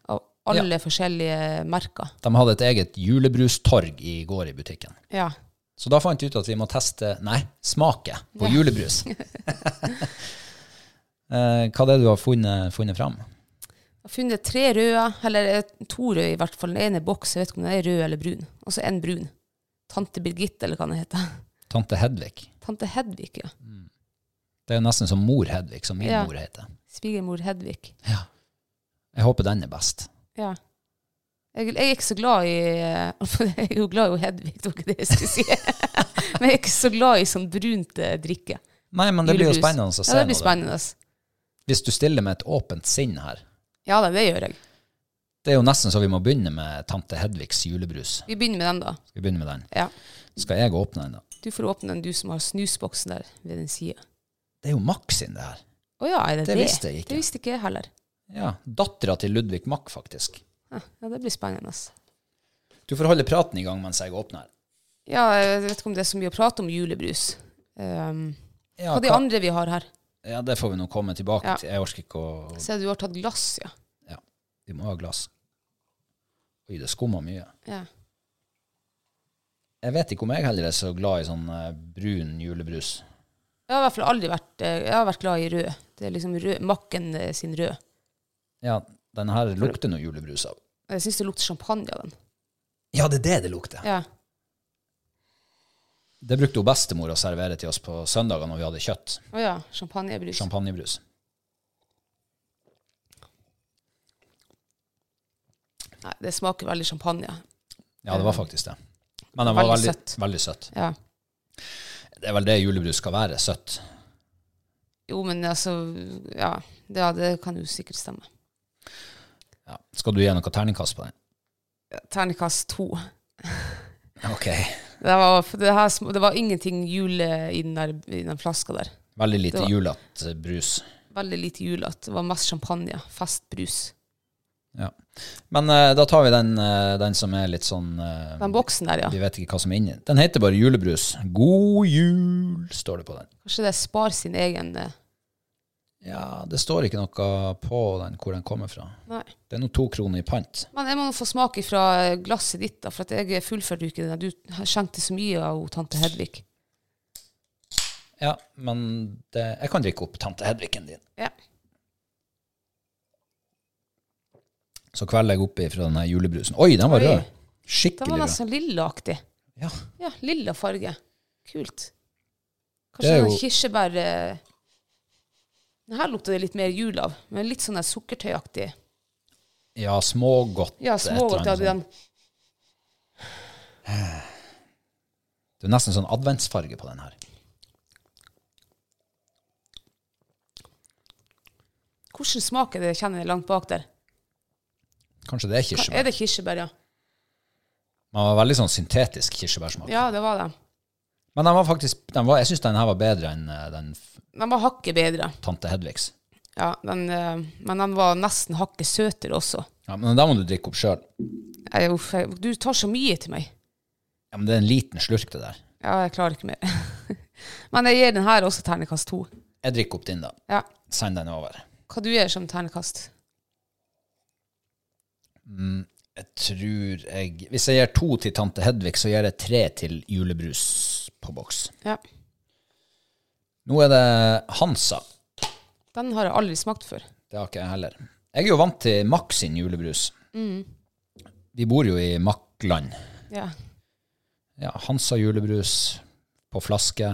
S2: Av alle forskjellige merker.
S1: De hadde et eget julebrustorg i går i butikken.
S2: Ja.
S1: Så da fant vi ut at vi må teste, nei, smake på julebrus. Eh, Hva er det du har funnet, funnet fram?
S2: Jeg har funnet tre røde, eller eh, to røde i hvert fall. Den ene er boks, jeg vet ikke om den er rød eller brun. Og så en brun. Tante Birgitte, eller hva den heter.
S1: Tante Hedvig.
S2: Tante Hedvig, ja.
S1: Det er nesten som mor Hedvig, som min
S2: Ja.
S1: mor heter.
S2: Svigermor Hedvig.
S1: Jeg håper den er best.
S2: Ja. Jeg, jeg er ikke så glad i eh, Jeg er jo glad i Hedvig, det var ikke det jeg skulle si. Men jeg er ikke så glad i sånn brunt eh, drikke.
S1: Nei, men det blir jo
S2: Julebrus.
S1: spennende å se
S2: Ja, det blir
S1: nå, da.
S2: spennende.
S1: Hvis du stiller med et åpent sinn her.
S2: Ja da, det gjør jeg.
S1: Det er jo nesten så vi må begynne med tante Hedvigs julebrus.
S2: Vi begynner med den, da.
S1: Skal vi begynne med den?
S2: Ja.
S1: Skal jeg åpne den, da?
S2: Du får åpne den, du som har snusboksen der ved din side.
S1: Det er jo Mack sin, det her.
S2: Å ja, er det
S1: Det
S2: det?
S1: visste jeg ikke.
S2: Det visste ikke jeg heller.
S1: Ja, Dattera til Ludvig Mack, faktisk.
S2: Ja, ja, det blir spennende. ass.
S1: Du får holde praten i gang mens jeg åpner.
S2: Ja, jeg vet ikke om det er så mye å prate om julebrus. Um,
S1: Ja,
S2: hva er de
S1: hva-
S2: andre vi har her?
S1: ja, det får vi nå komme tilbake
S2: Ja.
S1: til. Jeg orker ikke å
S2: Se, du har tatt glass, ja.
S1: Ja, vi må ha glass. Oi, det skummer mye.
S2: ja.
S1: Jeg vet ikke om jeg heller er så glad i sånn eh, brun julebrus.
S2: Jeg har i hvert fall aldri vært, eh, jeg har vært glad i rød. Det er liksom rød, makken eh, sin rød.
S1: Ja, den her lukter noe julebrus av.
S2: Jeg syns det lukter champagne av den.
S1: Ja, det er det det lukter.
S2: Ja.
S1: Det brukte jo bestemor å servere til oss på søndager når vi hadde kjøtt.
S2: Å ja, champagnebrus.
S1: Champagnebrus.
S2: Nei, det smaker veldig champagne.
S1: Ja, det var faktisk det. Men den var
S2: Veldig
S1: veldig, veldig,
S2: søtt.
S1: søtt.
S2: Ja.
S1: Det er vel det julebrus skal være, søtt.
S2: Jo, men altså Ja, det, ja, det kan jo sikkert stemme.
S1: Ja. Skal du gi noe terningkast på den?
S2: Terningkast to.
S1: Ok.
S2: Det var, for det, her, sm- det var ingenting jule i den, der, i den flaska der.
S1: Veldig
S2: Det
S1: lite
S2: var-
S1: julete brus.
S2: Veldig lite julete. Det var mest champagne. Festbrus.
S1: Ja. Men eh, da tar vi den, eh, den som er litt sånn eh,
S2: Den boksen der,
S1: Vi
S2: ja.
S1: vet ikke hva som er inni. Den heter bare julebrus. God jul, står det på den.
S2: Kanskje det er Spar sin egen eh,
S1: Ja, det står ikke noe på den hvor den kommer fra.
S2: Nei.
S1: Det er nå to kroner i pant.
S2: Men jeg må få smake fra glasset ditt, da, for at jeg fullførte jo ikke det. der. Du skjenkte så mye av hun tante Hedvig.
S1: Ja, men det, jeg kan drikke opp tante Hedvigen din.
S2: Ja.
S1: Så kvelder jeg oppi fra denne julebrusen. Oi, den var
S2: Oi.
S1: rød.
S2: Den var
S1: Skikkelig rød.
S2: nesten lillaaktig.
S1: Ja.
S2: Ja, lilla farge. Kult.
S1: Det
S2: Kanskje
S1: er
S2: den
S1: jo-
S2: kirsebær eh, Den her lukter det litt mer jul av, men litt sånn der sukkertøyaktig.
S1: ja, smågodt.
S2: Ja,
S1: et eller
S2: smågodt
S1: annet
S2: hadde
S1: sånt.
S2: den.
S1: Det er nesten sånn adventsfarge på den her.
S2: Hvordan smaker det, kjenner jeg langt bak der.
S1: Kanskje det er
S2: Ka-
S1: kirsebær.
S2: Er det kirsebær, ja?
S1: Den var veldig sånn syntetisk kirsebærsmak.
S2: Ja, det var det.
S1: Men den var faktisk, den var, jeg syns den her var bedre enn eh, den f-
S2: Den var hakket bedre.
S1: tante Hedvigs.
S2: Ja, den, eh, men den var nesten hakket søtere også.
S1: Ja, men da må du drikke opp sjøl.
S2: Jeg, uff, jeg, du tar så mye til meg.
S1: Ja, men det er en liten slurk, det der.
S2: Ja, jeg klarer ikke mer. Men jeg gir den her også ternekast to.
S1: Jeg drikker opp din, da.
S2: Ja.
S1: Send den over.
S2: Hva du gjør som ternekast?
S1: Jeg tror jeg Hvis jeg gir to til tante Hedvig, så gir jeg tre til julebrus på boks.
S2: Ja.
S1: Nå er det Hansa.
S2: Den har jeg aldri smakt før.
S1: Det har ikke jeg heller. Jeg er jo vant til Mack sin julebrus. Vi bor jo i Mack-land.
S2: Ja.
S1: Ja, Hansa julebrus på flaske.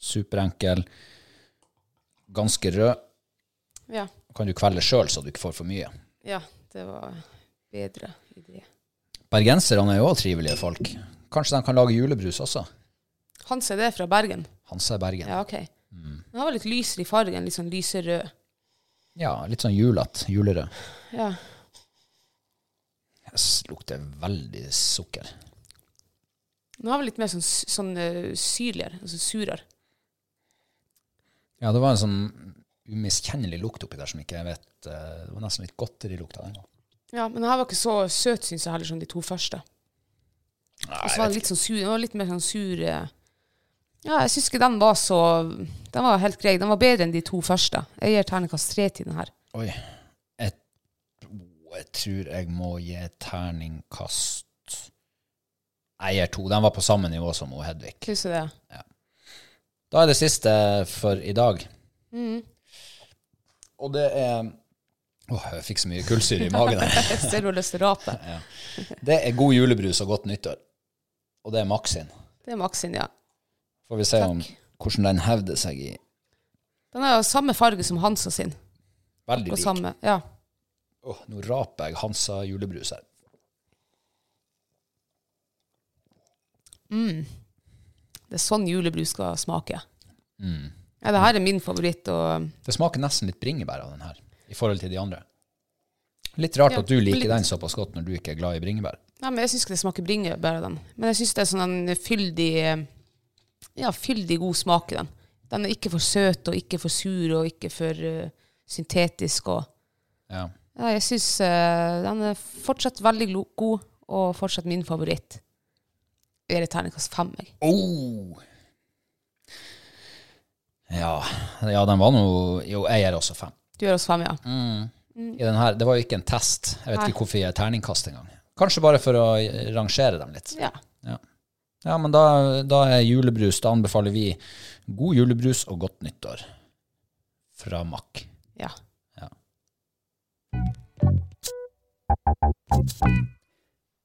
S1: Superenkel. Ganske rød.
S2: Ja.
S1: Kan du kvelde sjøl, så du ikke får for mye.
S2: ja. Det var bedre idé.
S1: Bergenserne er jo også trivelige folk. Kanskje de kan lage julebrus også?
S2: Hans er det fra Bergen?
S1: Hansa i Bergen.
S2: Ja, OK.
S1: Mm.
S2: Den var litt lysere i fargen. Litt sånn lyserød.
S1: Ja, litt sånn julete. Julerød.
S2: Ja.
S1: Jeg s- lukter veldig sukker.
S2: Den var litt mer sånn, s- sånn eh, syrligere. Altså surere.
S1: Ja, det var en sånn umiskjennelig lukt oppi der som ikke jeg vet eh, Det var nesten litt godteri lukta den.
S2: Ja, men den her var ikke så søt, syns jeg heller, som de to første.
S1: Nei,
S2: Og så
S1: jeg
S2: var
S1: vet
S2: den litt sånn sur. Den var litt mer sånn sur eh. Ja, jeg syns ikke den var så Den var helt grei. Den var bedre enn de to første. Jeg gir terningkast tre til den her.
S1: ikke. Oi. Jeg, tro- jeg tror jeg må gi terningkast Nei, jeg gir to. Den var på samme nivå som hun Hedvig.
S2: Syns du det?
S1: Da er det siste for i dag.
S2: Mm.
S1: Og det er Åh, jeg fikk så mye kullsyre i magen. her.
S2: Jeg ser du har lyst til å rape.
S1: Det er god julebrus og godt nyttår. Og det er Max sin.
S2: Det er Maxin, ja.
S1: Får vi se om
S2: Takk.
S1: hvordan den hevder seg i
S2: Den er jo samme farge som Hansa sin.
S1: Veldig
S2: Og
S1: lik.
S2: samme, ja.
S1: Åh, nå raper jeg Hansa julebrus her.
S2: Mm. Det er sånn julebrus skal smake. Ja, det her er min favoritt. Og,
S1: Det smaker nesten litt bringebær av den her, i forhold til de andre. Litt rart
S2: Ja,
S1: at du liker
S2: litt.
S1: den såpass godt når du ikke er glad i bringebær.
S2: ja, men jeg syns ikke det smaker bringebær av den. Men jeg syns det er sånn en fyldig Ja, fyldig god smak i den. Den er ikke for søt og ikke for sur og ikke for eh, syntetisk. Og,
S1: Ja.
S2: ja, jeg syns den er fortsatt veldig glo- god, og fortsatt min favoritt. Jeg gir et terningkast fem, jeg.
S1: Oh. Ja, ja, den var nå Jo, jeg gir også fem.
S2: Du gjør oss fem, ja.
S1: I den her, det var jo ikke en test. Jeg vet
S2: Mm. Nei.
S1: ikke hvorfor jeg gir terningkast engang. Kanskje bare for å rangere dem litt.
S2: ja.
S1: Ja, ja men da, da er julebrus Da anbefaler vi god julebrus og godt nyttår fra Mack.
S2: Ja.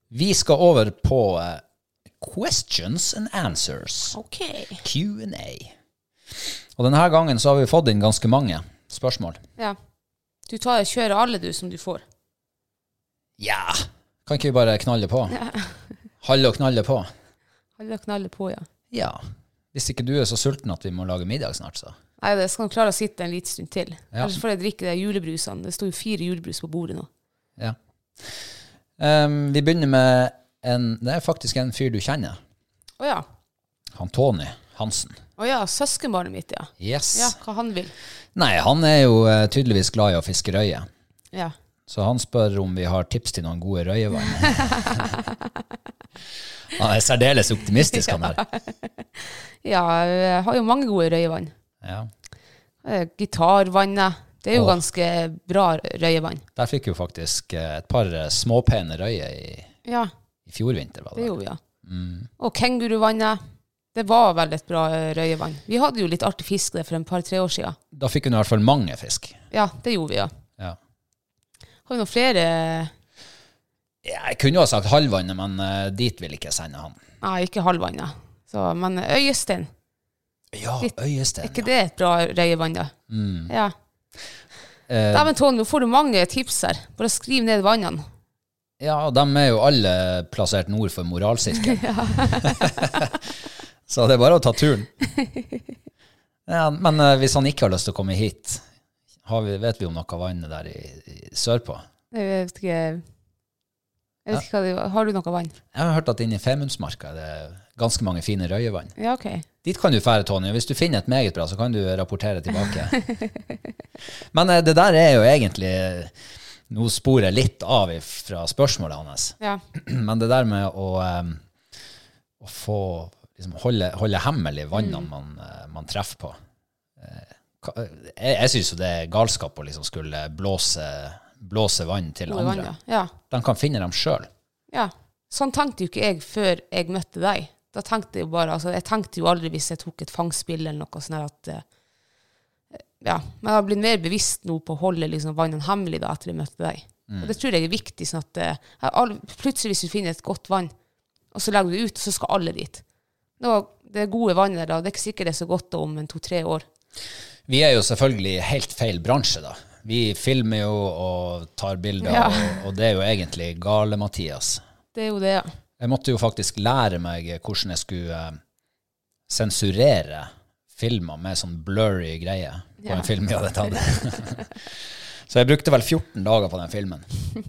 S1: Vi skal over på eh, questions and answers.
S2: OK.
S1: Q&A. Og denne gangen så har vi fått inn ganske mange spørsmål.
S2: Ja. Du tar, kjører alle, du, som du får.
S1: Ja! Kan ikke vi bare knalle på?
S2: Ja.
S1: Halle og knalle på?
S2: Alle knaller på, ja.
S1: Ja. Hvis ikke du er så sulten at vi må lage middag snart, så.
S2: Nei, jeg skal klare å sitte en liten stund til.
S1: Ja.
S2: Ellers får jeg drikke de julebrusene. Det står jo fire julebrus på bordet nå.
S1: Ja. Ehm, vi begynner med en Det er faktisk en fyr du kjenner.
S2: Å ja.
S1: Han Tony Hansen.
S2: Å ja, søskenbarnet mitt, ja.
S1: Yes.
S2: Ja, hva han vil.
S1: Nei, han er jo eh, tydeligvis glad i å fiske røye.
S2: Ja.
S1: Så han spør om vi har tips til noen gode røyevann. Han er særdeles optimistisk, han der.
S2: ja, jeg har jo mange gode røyevann.
S1: Ja.
S2: Eh, Gitarvannet. Det er jo
S1: Åh.
S2: ganske bra røyevann.
S1: Der fikk jo faktisk eh, et par eh, småpene røyer i,
S2: Ja,
S1: i fjor vinter. var
S2: det
S1: det?
S2: gjorde vi, ja.
S1: Mm.
S2: Og kenguruvannet. Det var vel et bra eh, røyevann. Vi hadde jo litt artig fisk der for en par-tre år siden.
S1: Da fikk hun i hvert fall mange fisk.
S2: Ja, det gjorde vi, ja.
S1: Ja.
S2: Har vi noen flere
S1: Jeg kunne jo ha sagt halvvannet, men eh, dit vil ikke jeg sende han.
S2: Nei, ikke halvvannet. Så, men Øyestein,
S1: Ja,
S2: Litt- er
S1: Øyesten.
S2: ikke det et bra røyevann, da? Ja.
S1: Eh,
S2: Dæven, Tone, nå får du mange tips her. Bare skriv ned vannene.
S1: Ja, de er jo alle plassert nord for moralsirkelen. så det er bare å ta turen. Ja, men eh, hvis han ikke har lyst til å komme hit, har vi, vet vi om noe vann der i, i sørpå?
S2: Jeg vet ikke jeg vet ikke hva det Har du noe vann?
S1: Jeg har hørt at inne i Femundsmarka er det ganske mange fine røyevann.
S2: Ja, OK.
S1: Dit kan du fære, Tonje. Hvis du finner et meget bra, så kan du rapportere tilbake. Men eh, det der er jo egentlig Nå sporer jeg litt av fra spørsmålet hans.
S2: Ja.
S1: Men det der med å, em, å få liksom holde, holde hemmelig vannene
S2: Mm.
S1: man, eh, man treffer på Eh, ka- Jeg, jeg syns jo det er galskap å liksom skulle blåse, blåse vann til
S2: Gode vann,
S1: andre.
S2: ja. ja.
S1: De kan finne dem sjøl.
S2: Ja. Sånn tenkte jo ikke jeg før jeg møtte deg. Da tenkte jeg jo bare, altså jeg tenkte jo aldri hvis jeg tok et fangspill eller noe sånn her at eh, Ja. Men jeg har blitt mer bevisst nå på å holde liksom vannet hemmelig da etter jeg møtte deg.
S1: Mm.
S2: Og det tror jeg er viktig. sånn at eh, her all- Plutselig hvis du finner et godt vann, og så legger du det ut, så skal alle dit. Nå, det gode vannet der, da, det er ikke sikkert det er så godt da om en to-tre år.
S1: Vi er jo selvfølgelig i helt feil bransje, da. Vi filmer jo og tar bilder,
S2: Ja.
S1: og, og det er jo egentlig gale, Mathias.
S2: Det er jo det, ja.
S1: Jeg måtte jo faktisk lære meg hvordan jeg skulle eh, sensurere filmer med sånn blurry greie på
S2: Ja.
S1: en film jeg hadde tatt. så jeg brukte vel 14 dager på den filmen,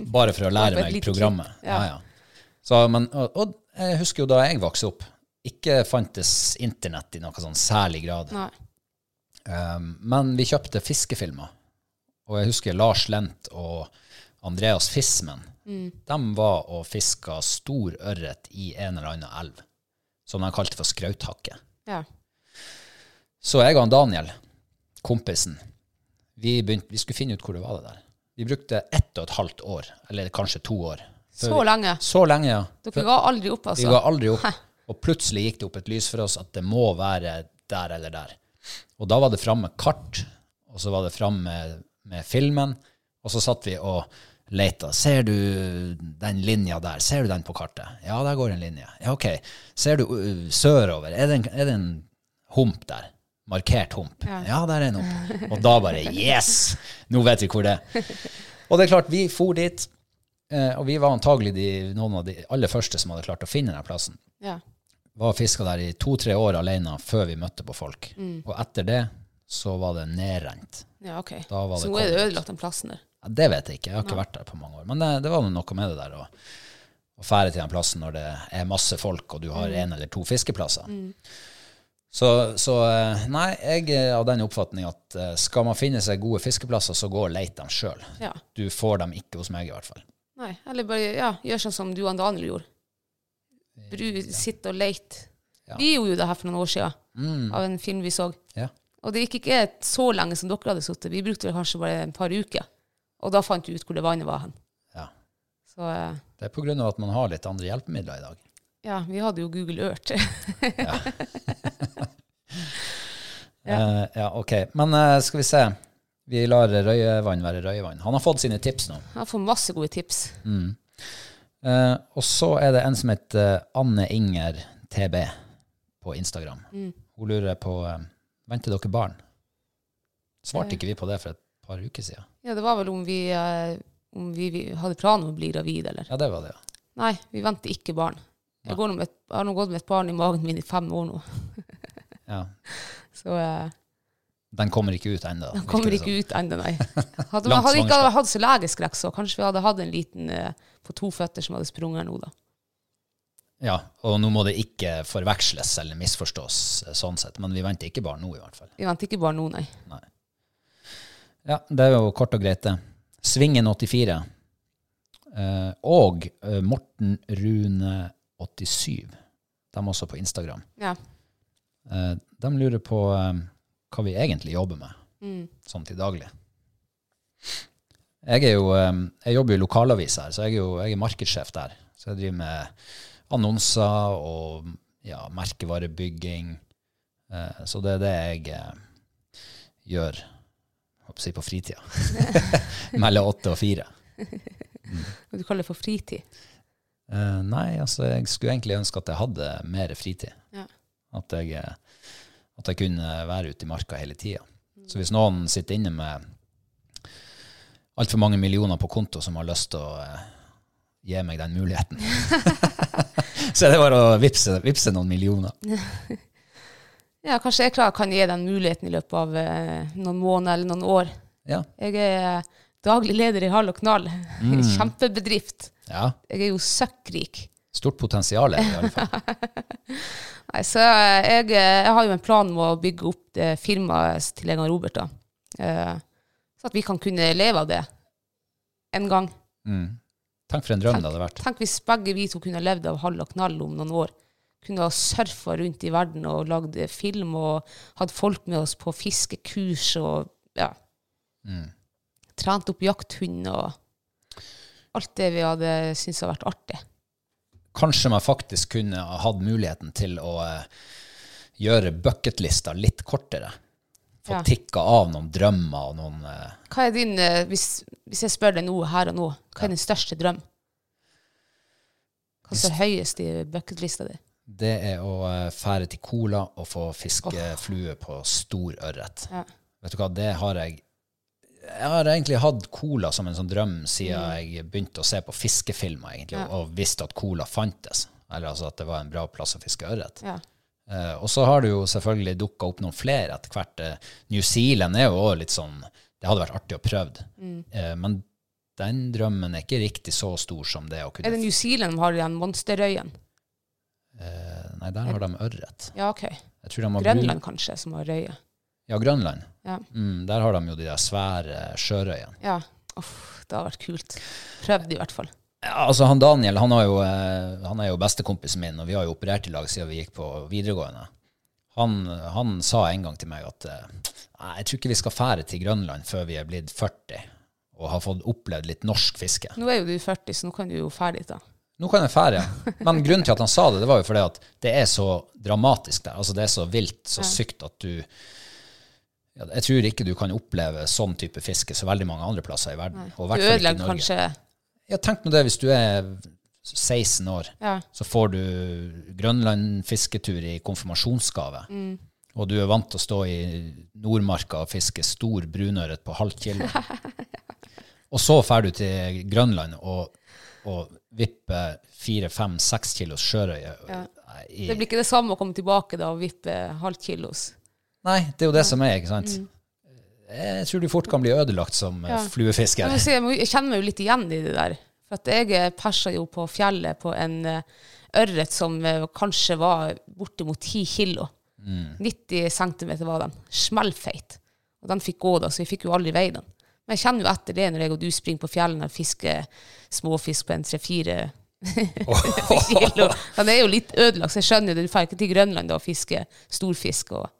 S1: bare for å
S2: på
S1: lære
S2: et
S1: meg
S2: lite
S1: programmet.
S2: klipp,
S1: Ja.
S2: ja.
S1: Ja, Så, men, og, og jeg husker jo da jeg vokste opp, ikke fantes internett i noe sånn særlig grad.
S2: Nei.
S1: Um, men vi kjøpte fiskefilmer. Og jeg husker Lars Lent og Andreas Fismen. De var og fiska stor ørret i en eller annen elv, som de kalte for skrauthakke.
S2: Ja.
S1: Så jeg og han Daniel, kompisen, vi, begynte, vi skulle finne ut hvor det var det der. Vi brukte ett og et halvt år, eller kanskje to år. Før
S2: Så
S1: vi-
S2: lenge.
S1: Så lenge, ja.
S2: Dere ga aldri opp,
S1: Vi
S2: altså.
S1: ga aldri opp. Og plutselig gikk det opp et lys for oss at det må være der eller der. Og da var det fram med kart, og så var det fram med, med filmen, og så satt vi og leita. Ser du den linja der? Ser du den på kartet? Ja, der går en linje. Ja, ok. Ser du uh, sørover? Er det, en, er det en hump der? Markert hump. Ja. der er en hump. Og da bare Yes! Nå vet vi hvor det er. Og det er klart, vi for dit. Eh, og vi var antagelig de, noen av de aller første som hadde klart å finne den plassen.
S2: Ja.
S1: var og fiska der i to-tre år alene før vi møtte på folk. Og etter det så var det nedrent.
S2: Ja, ok.
S1: Da var
S2: Så
S1: det
S2: nå er det
S1: covid.
S2: ødelagt den plassen der.
S1: Ja, det vet jeg ikke, jeg har ikke vært der på mange år. Men det, det var nå noe med det der å å fære til den plassen når det er masse folk og du har én eller to fiskeplasser. Så, så eh, nei, jeg er av den oppfatning at eh, skal man finne seg gode fiskeplasser, så gå og let dem sjøl.
S2: Ja.
S1: Du får dem ikke hos meg, i hvert fall.
S2: Nei, eller bare ja, gjør sånn som du og Daniel gjorde. Bru, Sitt og leit.
S1: Eh, Ja. Mm.
S2: Vi gjorde jo det her for noen år siden, av en film vi så.
S1: Ja.
S2: Og det gikk ikke så lenge som dere hadde sittet. Vi brukte vel kanskje bare et par uker. Og da fant vi ut hvor det vannet var hen.
S1: Ja.
S2: Så eh,
S1: Det er på grunn av at man har litt andre hjelpemidler i dag.
S2: ja, vi hadde jo Google Earth.
S1: Ja, ja ok. Men eh, skal vi se. Vi lar Røyevann være Røyevann. Han har fått sine tips nå. Mm.
S2: Jeg får masse gode tips.
S1: Eh, og så er det en som heter eh, Anne Inger TB på Instagram.
S2: Mm.
S1: Hun lurer på eh, Venter dere barn? Svarte ikke vi på det for et par uker siden?
S2: Ja, det var vel om vi, eh, om vi, vi hadde planer om å bli gravid, eller?
S1: Ja, det var det. ja.
S2: Nei, vi venter ikke barn. Jeg, går nå med et, jeg har nå gått med et barn i magen min i fem år nå.
S1: ja.
S2: Så eh,
S1: Den kommer ikke ut ennå.
S2: den kommer ikke ut ennå, nei. Hadde,
S1: Langt
S2: man, hadde ikke
S1: svangerskap.
S2: hatt så legeskrekk, så kanskje vi hadde hatt en liten eh, på to føtter som hadde sprunget her nå, da.
S1: Ja, og nå må det ikke forveksles eller misforstås eh, sånn sett. Men vi venter ikke barn nå, i hvert fall.
S2: Vi venter ikke barn nå, nei.
S1: Nei. Ja, det er jo kort og greit, det. Svingen 84. Eh, og eh, Morten Rune 87. De er også på Instagram.
S2: Ja.
S1: Eh, de lurer på eh, hva vi egentlig jobber med, sånn til daglig. Jeg, er jo, eh, jeg jobber jo i lokalavis her, så jeg er jo jeg er markedssjef der. Så jeg driver med annonser og ja, merkevarebygging. Eh, så det er det jeg eh, gjør jeg håper å si på fritida. Mellom åtte og fire.
S2: Og du kaller det for fritid.
S1: Eh, nei, altså jeg skulle egentlig ønske at jeg hadde mer fritid.
S2: Ja.
S1: At, jeg, eh, at jeg kunne være ute i marka hele tida. Så hvis noen sitter inne med altfor mange millioner på konto som har lyst til å eh, gi meg den muligheten, så er det bare å vippse, vippse noen millioner.
S2: Ja, kanskje jeg klarer, kan gi den muligheten i løpet av eh, noen måneder eller noen år.
S1: Ja.
S2: Jeg er eh, daglig leder i Hall og Knall. Kjempebedrift.
S1: ja.
S2: Jeg er jo søkkrik.
S1: Stort potensial er det i alle fall.
S2: Nei, så eh, jeg, jeg har jo en plan om å bygge opp det firmaet til en av Robert, da. Eh, så at vi kan kunne leve av det en gang.
S1: Mm. Tenk for en drøm det hadde vært.
S2: Tenk hvis begge vi to kunne levd av hall og knall om noen år. Kunne ha surfa rundt i verden og lagd film og hatt folk med oss på fiskekurs og ja. Trent opp jakthund og alt det vi hadde syntes hadde vært artig.
S1: kanskje man faktisk kunne ha hatt muligheten til å eh, gjøre bucketlista litt kortere. Få
S2: Ja.
S1: tikka av noen drømmer og noen eh,
S2: Hva er din, eh, hvis, hvis jeg spør deg nå, her og nå, hva er din største drøm? Hva står høyest i bucketlista di?
S1: Det er å eh, fære til Kola og få fiskeflue på stor ørret.
S2: Ja.
S1: Vet du hva, det har jeg Jeg har egentlig hatt Cola som en sånn drøm siden
S2: Mm.
S1: jeg begynte å se på fiskefilmer, egentlig, og, og visste at Cola fantes. Eller altså at det var en bra plass å fiske ørret.
S2: Ja.
S1: Eh, og så har det jo selvfølgelig dukka opp noen flere etter hvert. Eh, New Zealand er jo også litt sånn Det hadde vært artig å prøve.
S2: Mm.
S1: Eh, men den drømmen er ikke riktig så stor som det å kunne
S2: Er det New Zealand som har den monsterøyen?
S1: eh, Nei, der har de ørret.
S2: Ja, OK.
S1: Jeg tror de har
S2: Grønland, kanskje, som har røye.
S1: Brun... Ja, Grønland.
S2: Ja.
S1: Mm, der har de jo de der svære sjørøyene.
S2: ja. Uff, det hadde vært kult. Prøvd, i hvert fall.
S1: Ja, altså han Daniel han, har jo, eh, han er jo bestekompisen min, og vi har jo operert i lag siden vi gikk på videregående. Han, han sa en gang til meg at eh, nei, jeg tror ikke vi skal fære til Grønland før vi er blitt 40 og har fått opplevd litt norsk fiske.
S2: Nå er jo du 40, så nå kan du jo ferdig da.
S1: Nå kan jeg fære. Men grunnen til at han sa det, det var jo fordi at det er så dramatisk der. Altså det er så vilt, så sykt at du ja, Jeg tror ikke du kan oppleve sånn type fiske så veldig mange andre plasser i verden. Og i hvert
S2: Du
S1: fall ikke i
S2: ødelegger
S1: Norge.
S2: kanskje
S1: Ja, tenk nå det hvis du er 16 år,
S2: Ja.
S1: så får du Grønland-fisketur i konfirmasjonsgave.
S2: Mm.
S1: Og du er vant til å stå i Nordmarka og fiske stor brunøret på halvt kilo. og så drar du til Grønland og, å vippe fire, fem, seks kilos sjørøye eh, i
S2: Det blir ikke det samme å komme tilbake da og vippe halvt kilos.
S1: Nei, det er jo det som er, ikke sant?
S2: Mm.
S1: Jeg tror du fort kan bli ødelagt som eh,
S2: Jeg,
S1: fluefisker.
S2: må si, jeg, må, jeg kjenner meg jo litt igjen i det der. For at jeg eh, persa jo på fjellet på en eh, ørret som eh, kanskje var bortimot 10 kilo.
S1: Mm.
S2: 90 cm var den. Smellfeit. Og den fikk gå da, så vi fikk jo aldri veid den. Men jeg kjenner jo etter det når jeg og du springer på fjellene og fisker småfisk på en tre-fire kilo. Den er jo litt ødelagt, så jeg skjønner det. Du drar ikke til Grønland da og fisker storfisk. og...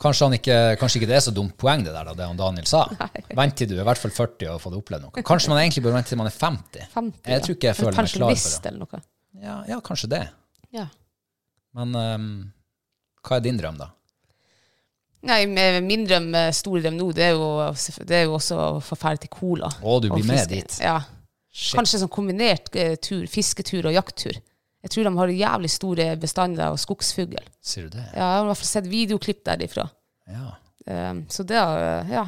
S1: Kanskje, han ikke, kanskje ikke det er så dumt poeng det der, da, det han Daniel sa. Vent til du er i hvert fall 40 og har fått opplevd noe. Kanskje man egentlig bør vente til man er 50.
S2: 50,
S1: jeg tror ikke jeg føler meg klar for det.
S2: det. Eller noe.
S1: Ja, ja, kanskje det.
S2: Ja.
S1: Men ehm, hva er din drøm, da?
S2: Nei, med- min drøm, eh, store drøm nå, det er jo, selvfø- det er jo også å få ferdig til Cola.
S1: Å, du
S2: Og
S1: blir med
S2: fiske.
S1: dit.
S2: Ja. Kanskje sånn kombinert eh, tur, fisketur og jakttur. Jeg tror de har jævlig store bestander av skogsfugl.
S1: Sier du det?
S2: Ja, jeg har i hvert fall sett videoklipp derifra.
S1: Ja.
S2: Um, så det har, eh, ja,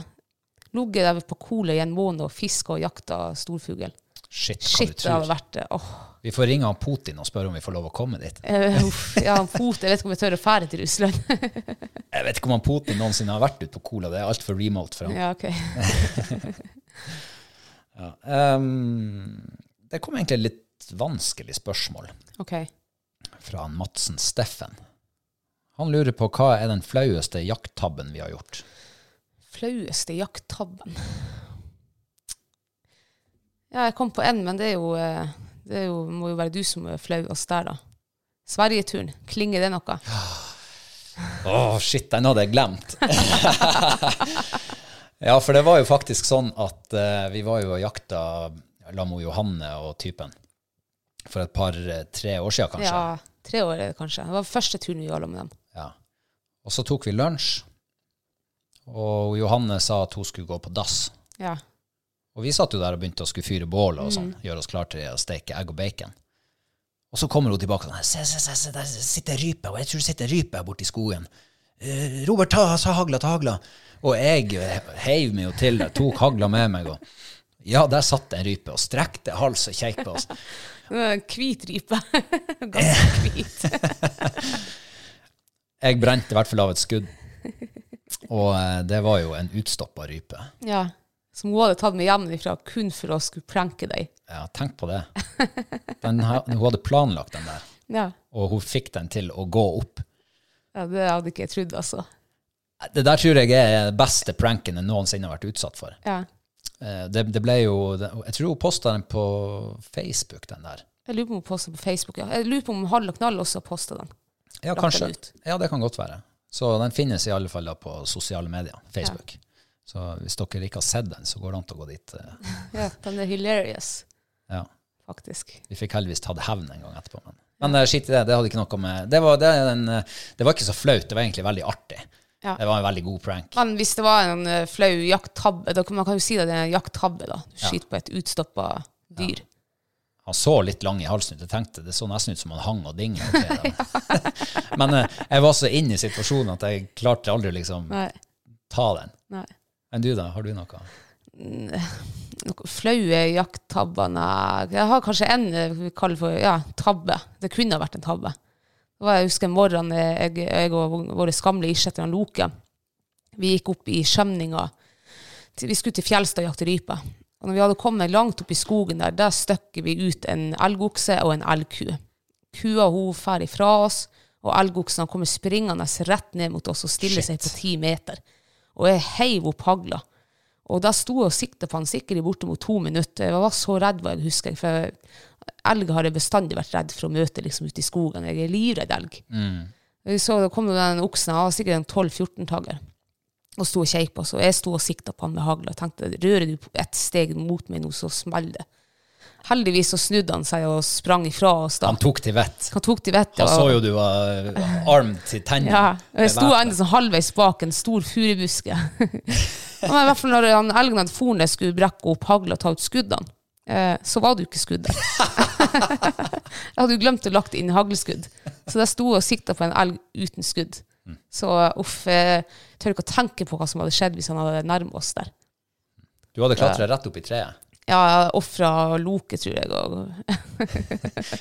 S2: ligget der på Cola i en måned og fiska og jakta storfugl.
S1: Shit, hva
S2: Shit,
S1: du
S2: det hadde
S1: tror.
S2: vært det. Åh.
S1: Vi får ringe han Putin og spørre om vi får lov å komme dit.
S2: Eh, uff, ja, en fot, jeg vet ikke om jeg tør å fære til Russland.
S1: Jeg vet ikke om han Putin noensinne har vært ute på Cola, det er altfor remote for ham.
S2: ja, ok.
S1: Ehm, det kom egentlig et litt vanskelig spørsmål
S2: Ok.
S1: fra han Madsen Steffen. Han lurer på hva er den flaueste jakttabben vi har gjort.
S2: Flaueste jakttabben? Ja, jeg kom på én, men det, er jo, eh, det er jo, må jo være du som er flau oss der, da. Sverigeturen, klinger det noe?
S1: Å, shit, den hadde jeg glemt. ja, for det var jo faktisk sånn at eh, vi var jo og jakta Lamo Johanne og typen for et par-tre år siden, kanskje.
S2: Ja, tre år er det kanskje. Det var første turen vi gjorde med dem.
S1: Ja. Og så tok vi lunsj, og Johanne sa at hun skulle gå på dass.
S2: Ja.
S1: Og vi satt jo der og begynte å skulle fyre bål og sånn, gjøre oss klar til å steke egg og bacon. Og så kommer hun tilbake og sånn, se, se, se, se, der sitter rype, og jeg tror det sitter rype her borte i skogen. Eh, Robert, ta, ta hagla, ta hagla. Og jeg he- heiv meg jo til det, tok hagla med meg, og ja, der satt det en rype og strekte hals og kjekk på oss.
S2: Det var en Hvit rype. Ganske hvit.
S1: Jeg brente i hvert fall av et skudd, og eh, det var jo en utstoppa rype.
S2: Ja. Som hun hadde tatt med hjemmefra kun for å skulle pranke deg.
S1: Ja, tenk på det. Den, her- hun hadde planlagt den der,
S2: Ja.
S1: og hun fikk den til å gå opp.
S2: ja, det hadde ikke jeg trodd, altså.
S1: Det der tror jeg er den beste pranken jeg noensinne har vært utsatt for.
S2: Ja.
S1: Eh, Det, det ble jo, det- Jeg tror hun posta den på Facebook, den der.
S2: Jeg lurer på om hun posta på Facebook. Ja. Jeg lurer på om Hall og Knall også posta den.
S1: Ja,
S2: Lagt den
S1: kanskje.
S2: ut.
S1: Ja, det kan godt være. Så den finnes i alle fall da på sosiale medier, Facebook. Så hvis dere ikke har sett den, så går det an til å gå dit. eh.
S2: Ja, den er hilarious,
S1: Ja.
S2: faktisk.
S1: Vi fikk heldigvis tatt hevn en gang etterpå. Men, men eh, skitt i det, det hadde ikke noe med det var, det, er en, eh, det var ikke så flaut, det var egentlig veldig artig.
S2: Ja.
S1: Det var en veldig god prank.
S2: Men hvis det var en eh, flau jakttabbe da, kan- Man kan jo si det, det er en jakttabbe. da. Du skyter på et utstoppa dyr.
S1: Han så litt lang i halsen ut. Jeg tenkte det så nesten ut som han hang og dingla. til dem. Men eh, jeg var så inne i situasjonen at jeg klarte aldri å liksom
S2: Nei.
S1: ta den.
S2: nei.
S1: Men du, da? Har du noe?
S2: Noen flaue jakttabber Nei. Jeg har kanskje en eh, vi kaller for ja, tabbe. Det kunne ha vært en tabbe. Det var, jeg husker en morgen eh, jeg, jeg og våre gamle isjetter Loke Vi gikk opp i skjemninga. Til- Vi skulle til fjells og jakte rype. Og når vi hadde kommet langt opp i skogen der, der støkker vi ut en elgokse og en elgku. Kua hun fer ifra oss, og elgoksen han kommer springende rett ned mot oss og stiller seg på ti meter. Og jeg heiv opp hagla. Og da sto jeg og sikta på han sikkert i bortimot to minutter. Jeg var så redd, var jeg husker jeg. For elg har jeg bestandig vært redd for å møte liksom ute i skogen. Jeg er livredd elg.
S1: Mm.
S2: Jeg Så da kom jo den oksen, han var sikkert en 12-14-tagger, og sto og kjekk på oss. Og jeg sto og sikta på han med hagla og tenkte rører du ett steg mot meg nå, så smeller det. Heldigvis så snudde han seg og sprang ifra oss da.
S1: Han tok til vett.
S2: Han tok til vettet.
S1: Han
S2: og-
S1: så jo du var eh, arm til tennene.
S2: ja, og jeg sto
S1: Bevæpnet.
S2: enda sånn halvveis bak en stor furubuske. Men i hvert fall når han elgen hadde for ned, skulle brekke opp hagla og ta ut skuddene, eh, så var det jo ikke skudd der. jeg hadde jo glemt å lagt inn haglskudd. Så jeg sto og sikta på en elg uten skudd. Så uff, eh, jeg tør ikke å tenke på hva som hadde skjedd hvis han hadde nærmet oss der.
S1: Du hadde klatra rett opp i treet.
S2: Ja, ofra Loke, tror jeg òg.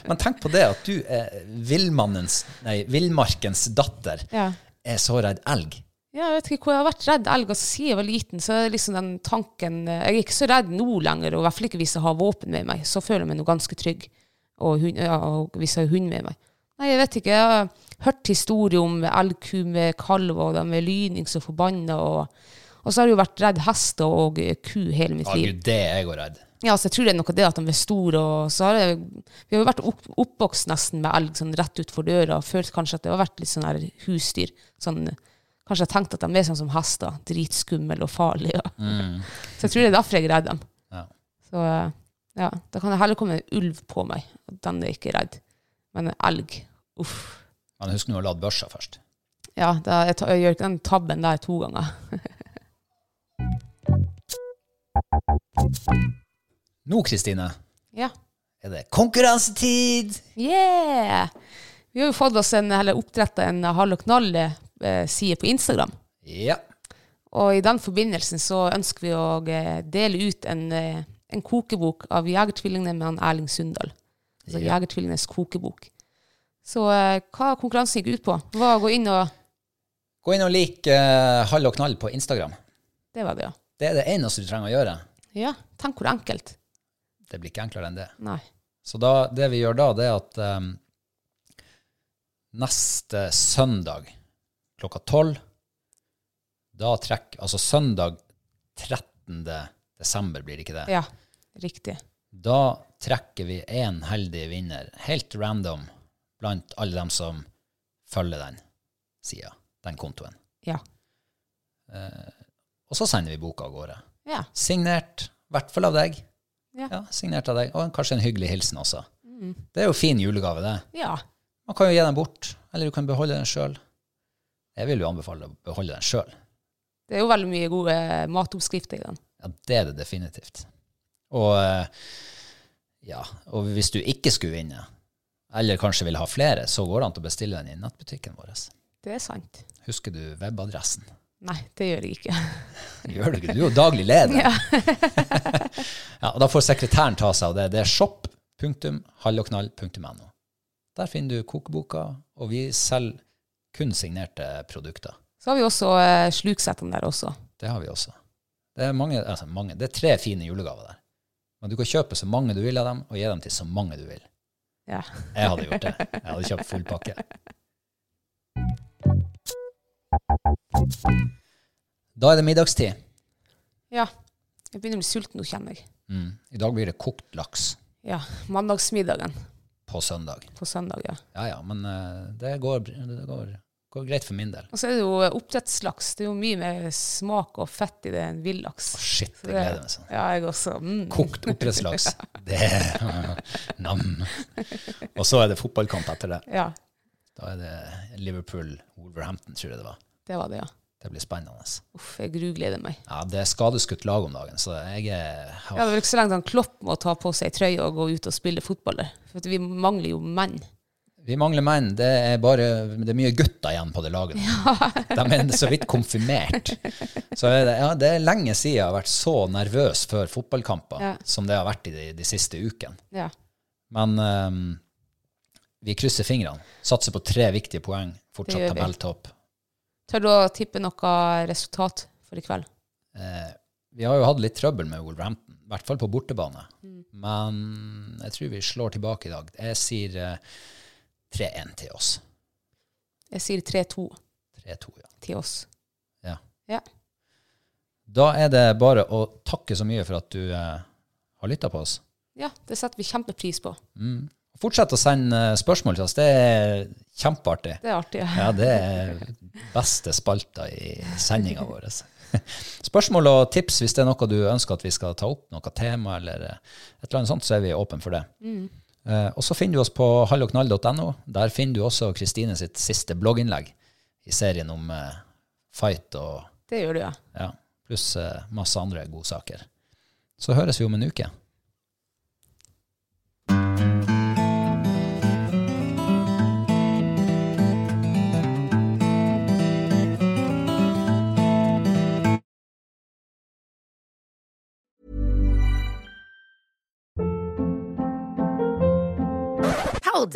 S1: Men tenk på det at du er villmannens, nei, villmarkens datter,
S2: Ja.
S1: er så redd elg.
S2: Ja, jeg vet ikke hvor jeg har vært redd elg. Altså, siden jeg var liten, så er liksom den tanken eh, Jeg er ikke så redd nå lenger, og i hvert fall ikke hvis jeg har våpen med meg. Så føler jeg meg nå ganske trygg. Og, hund, ja, og hvis jeg har hund med meg. Nei, jeg vet ikke. Jeg har hørt historier om elgku med kalv, og de er lynings og forbanna. Og, og så har jeg jo vært redd hester og eh, ku hele mitt
S1: Ja,
S2: liv.
S1: gud, det er jeg òg redd.
S2: Ja, så jeg tror det er noe av det at de er store. Og så har jeg, vi har jo vært opp, oppvokst nesten med elg sånn rett utfor døra og følt kanskje at det har vært litt sånn her husdyr. Sånn, kanskje jeg tenkte at de er sånn som hester. Dritskumle og farlige. Ja. Så jeg tror det er derfor jeg er redd dem.
S1: Ja.
S2: Så eh, ja, da kan det heller komme en ulv på meg. og Den er jeg ikke redd. Men en elg, uff.
S1: Men husk nå å lade børsa først.
S2: Ja, da, jeg, ta, jeg gjør ikke den tabben der to ganger.
S1: Nå, Kristine,
S2: Ja.
S1: er det konkurransetid!
S2: Yeah! Vi har jo fått oss en, eller oppdrettet en Hall og Knalle-side på Instagram.
S1: Ja.
S2: Og i den forbindelsen så ønsker vi å eh, dele ut en, eh, en kokebok av Jegertvillingene med han Erling Sundal. Altså
S1: Ja.
S2: Jegertvillingenes kokebok. Så eh, hva konkurransen gikk ut på, var å gå inn og
S1: Gå inn og lik eh, Hall og knall på Instagram.
S2: Det var det, ja.
S1: Det er det eneste du trenger å gjøre.
S2: Ja, Tenk hvor enkelt.
S1: Det blir ikke enklere enn det.
S2: Nei.
S1: Så da, det vi gjør da, det er at eh, neste søndag klokka tolv Da trekk Altså søndag 13. desember blir det ikke det.
S2: Ja, riktig.
S1: Da trekker vi én heldig vinner, helt random, blant alle dem som følger den sida, den kontoen.
S2: Ja.
S1: Og så sender vi boka av gårde.
S2: Ja.
S1: Signert, i hvert fall av deg.
S2: Ja.
S1: signert av deg. Og en- kanskje en hyggelig hilsen også. Det er jo fin julegave, det.
S2: ja.
S1: Man kan jo gi den bort, eller du kan beholde den sjøl. Jeg vil jo anbefale å beholde den sjøl.
S2: Det er jo veldig mye gode eh, matoppskrifter i den.
S1: Ja, det er det definitivt. Og, eh, ja, og hvis du ikke skulle vinne, eller kanskje vil ha flere, så går det an til å bestille den i nettbutikken vår.
S2: Det er sant.
S1: Husker du webadressen?
S2: Nei, det gjør jeg ikke.
S1: Gjør du ikke? Du er jo daglig leder. ja. og da får sekretæren ta seg av det. Det er shop.halloknall.no. Der finner du kokeboka, og vi selger kun signerte produkter.
S2: Så har vi også eh, sluksettene der også.
S1: Det har vi også. Det er, mange, altså mange, det er tre fine julegaver der. Men du kan kjøpe så mange du vil av dem, og gi dem til så mange du vil.
S2: Ja.
S1: Jeg hadde gjort det. Jeg hadde kjøpt full pakke. Da er det middagstid.
S2: ja. Jeg begynner å bli sulten nå, kjenner jeg.
S1: Mm. I dag blir det kokt laks
S2: Ja. Mandagsmiddagen
S1: på søndag.
S2: på søndag, ja.
S1: Ja ja, men eh, det går, det går, går greit for min del.
S2: Og så er det jo eh, oppdrettslaks. Det er jo mye mer smak og fett i det enn villaks.
S1: Shit,
S2: Så
S1: jeg gleder meg sånn.
S2: Ja, jeg også. Mm.
S1: Kokt oppdrettslaks. Det Nam. Og så er det fotballkamp etter det.
S2: Ja,
S1: Da er det Liverpool-Wolverhampton, tror jeg det var.
S2: det var det, ja.
S1: Det blir spennende.
S2: Uff, jeg grugleder meg.
S1: Ja, det er skadeskutt lag om dagen, så jeg er
S2: Ja, det er vel ikke så lenge han Klopp må ta på seg trøye og gå ut og spille fotball der. For at vi mangler jo menn.
S1: Vi mangler menn. Det er bare det er mye gutter igjen på det laget. nå. De er så vidt konfirmert. Så er det, ja, det er lenge siden jeg har vært så nervøs før fotballkamper
S2: Ja.
S1: som det har vært i de, de siste ukene.
S2: Ja.
S1: Men ehm, vi krysser fingrene. Satser på tre viktige poeng. Fortsatt
S2: gjør vi.
S1: tabelltopp.
S2: Tør du å tippe noe resultat for i kveld?
S1: Eh, vi har jo hatt litt trøbbel med Wolverhampton, i hvert fall på bortebane.
S2: Mm.
S1: Men jeg tror vi slår tilbake i dag. Jeg sier eh, 3-1 til oss.
S2: Jeg sier 3-2
S1: 3-2, ja.
S2: til oss.
S1: ja.
S2: Ja.
S1: Da er det bare å takke så mye for at du eh, har lytta på oss.
S2: ja, det setter vi kjempepris på.
S1: Mm. Fortsett å sende eh, spørsmål til oss. Det er kjempeartig.
S2: Det er artig.
S1: Ja, det er beste spalta i sendinga vår. Spørsmål og tips hvis det er noe du ønsker at vi skal ta opp, noe tema eller eh, et eller annet sånt, så er vi åpne for det. Eh, og så finner du oss på halloknall.no. Der finner du også Kristine sitt siste blogginnlegg i serien om eh, fight og
S2: Det gjør du, ja.
S1: ja, pluss eh, masse andre godsaker. Så høres vi om en uke.
S3: Hold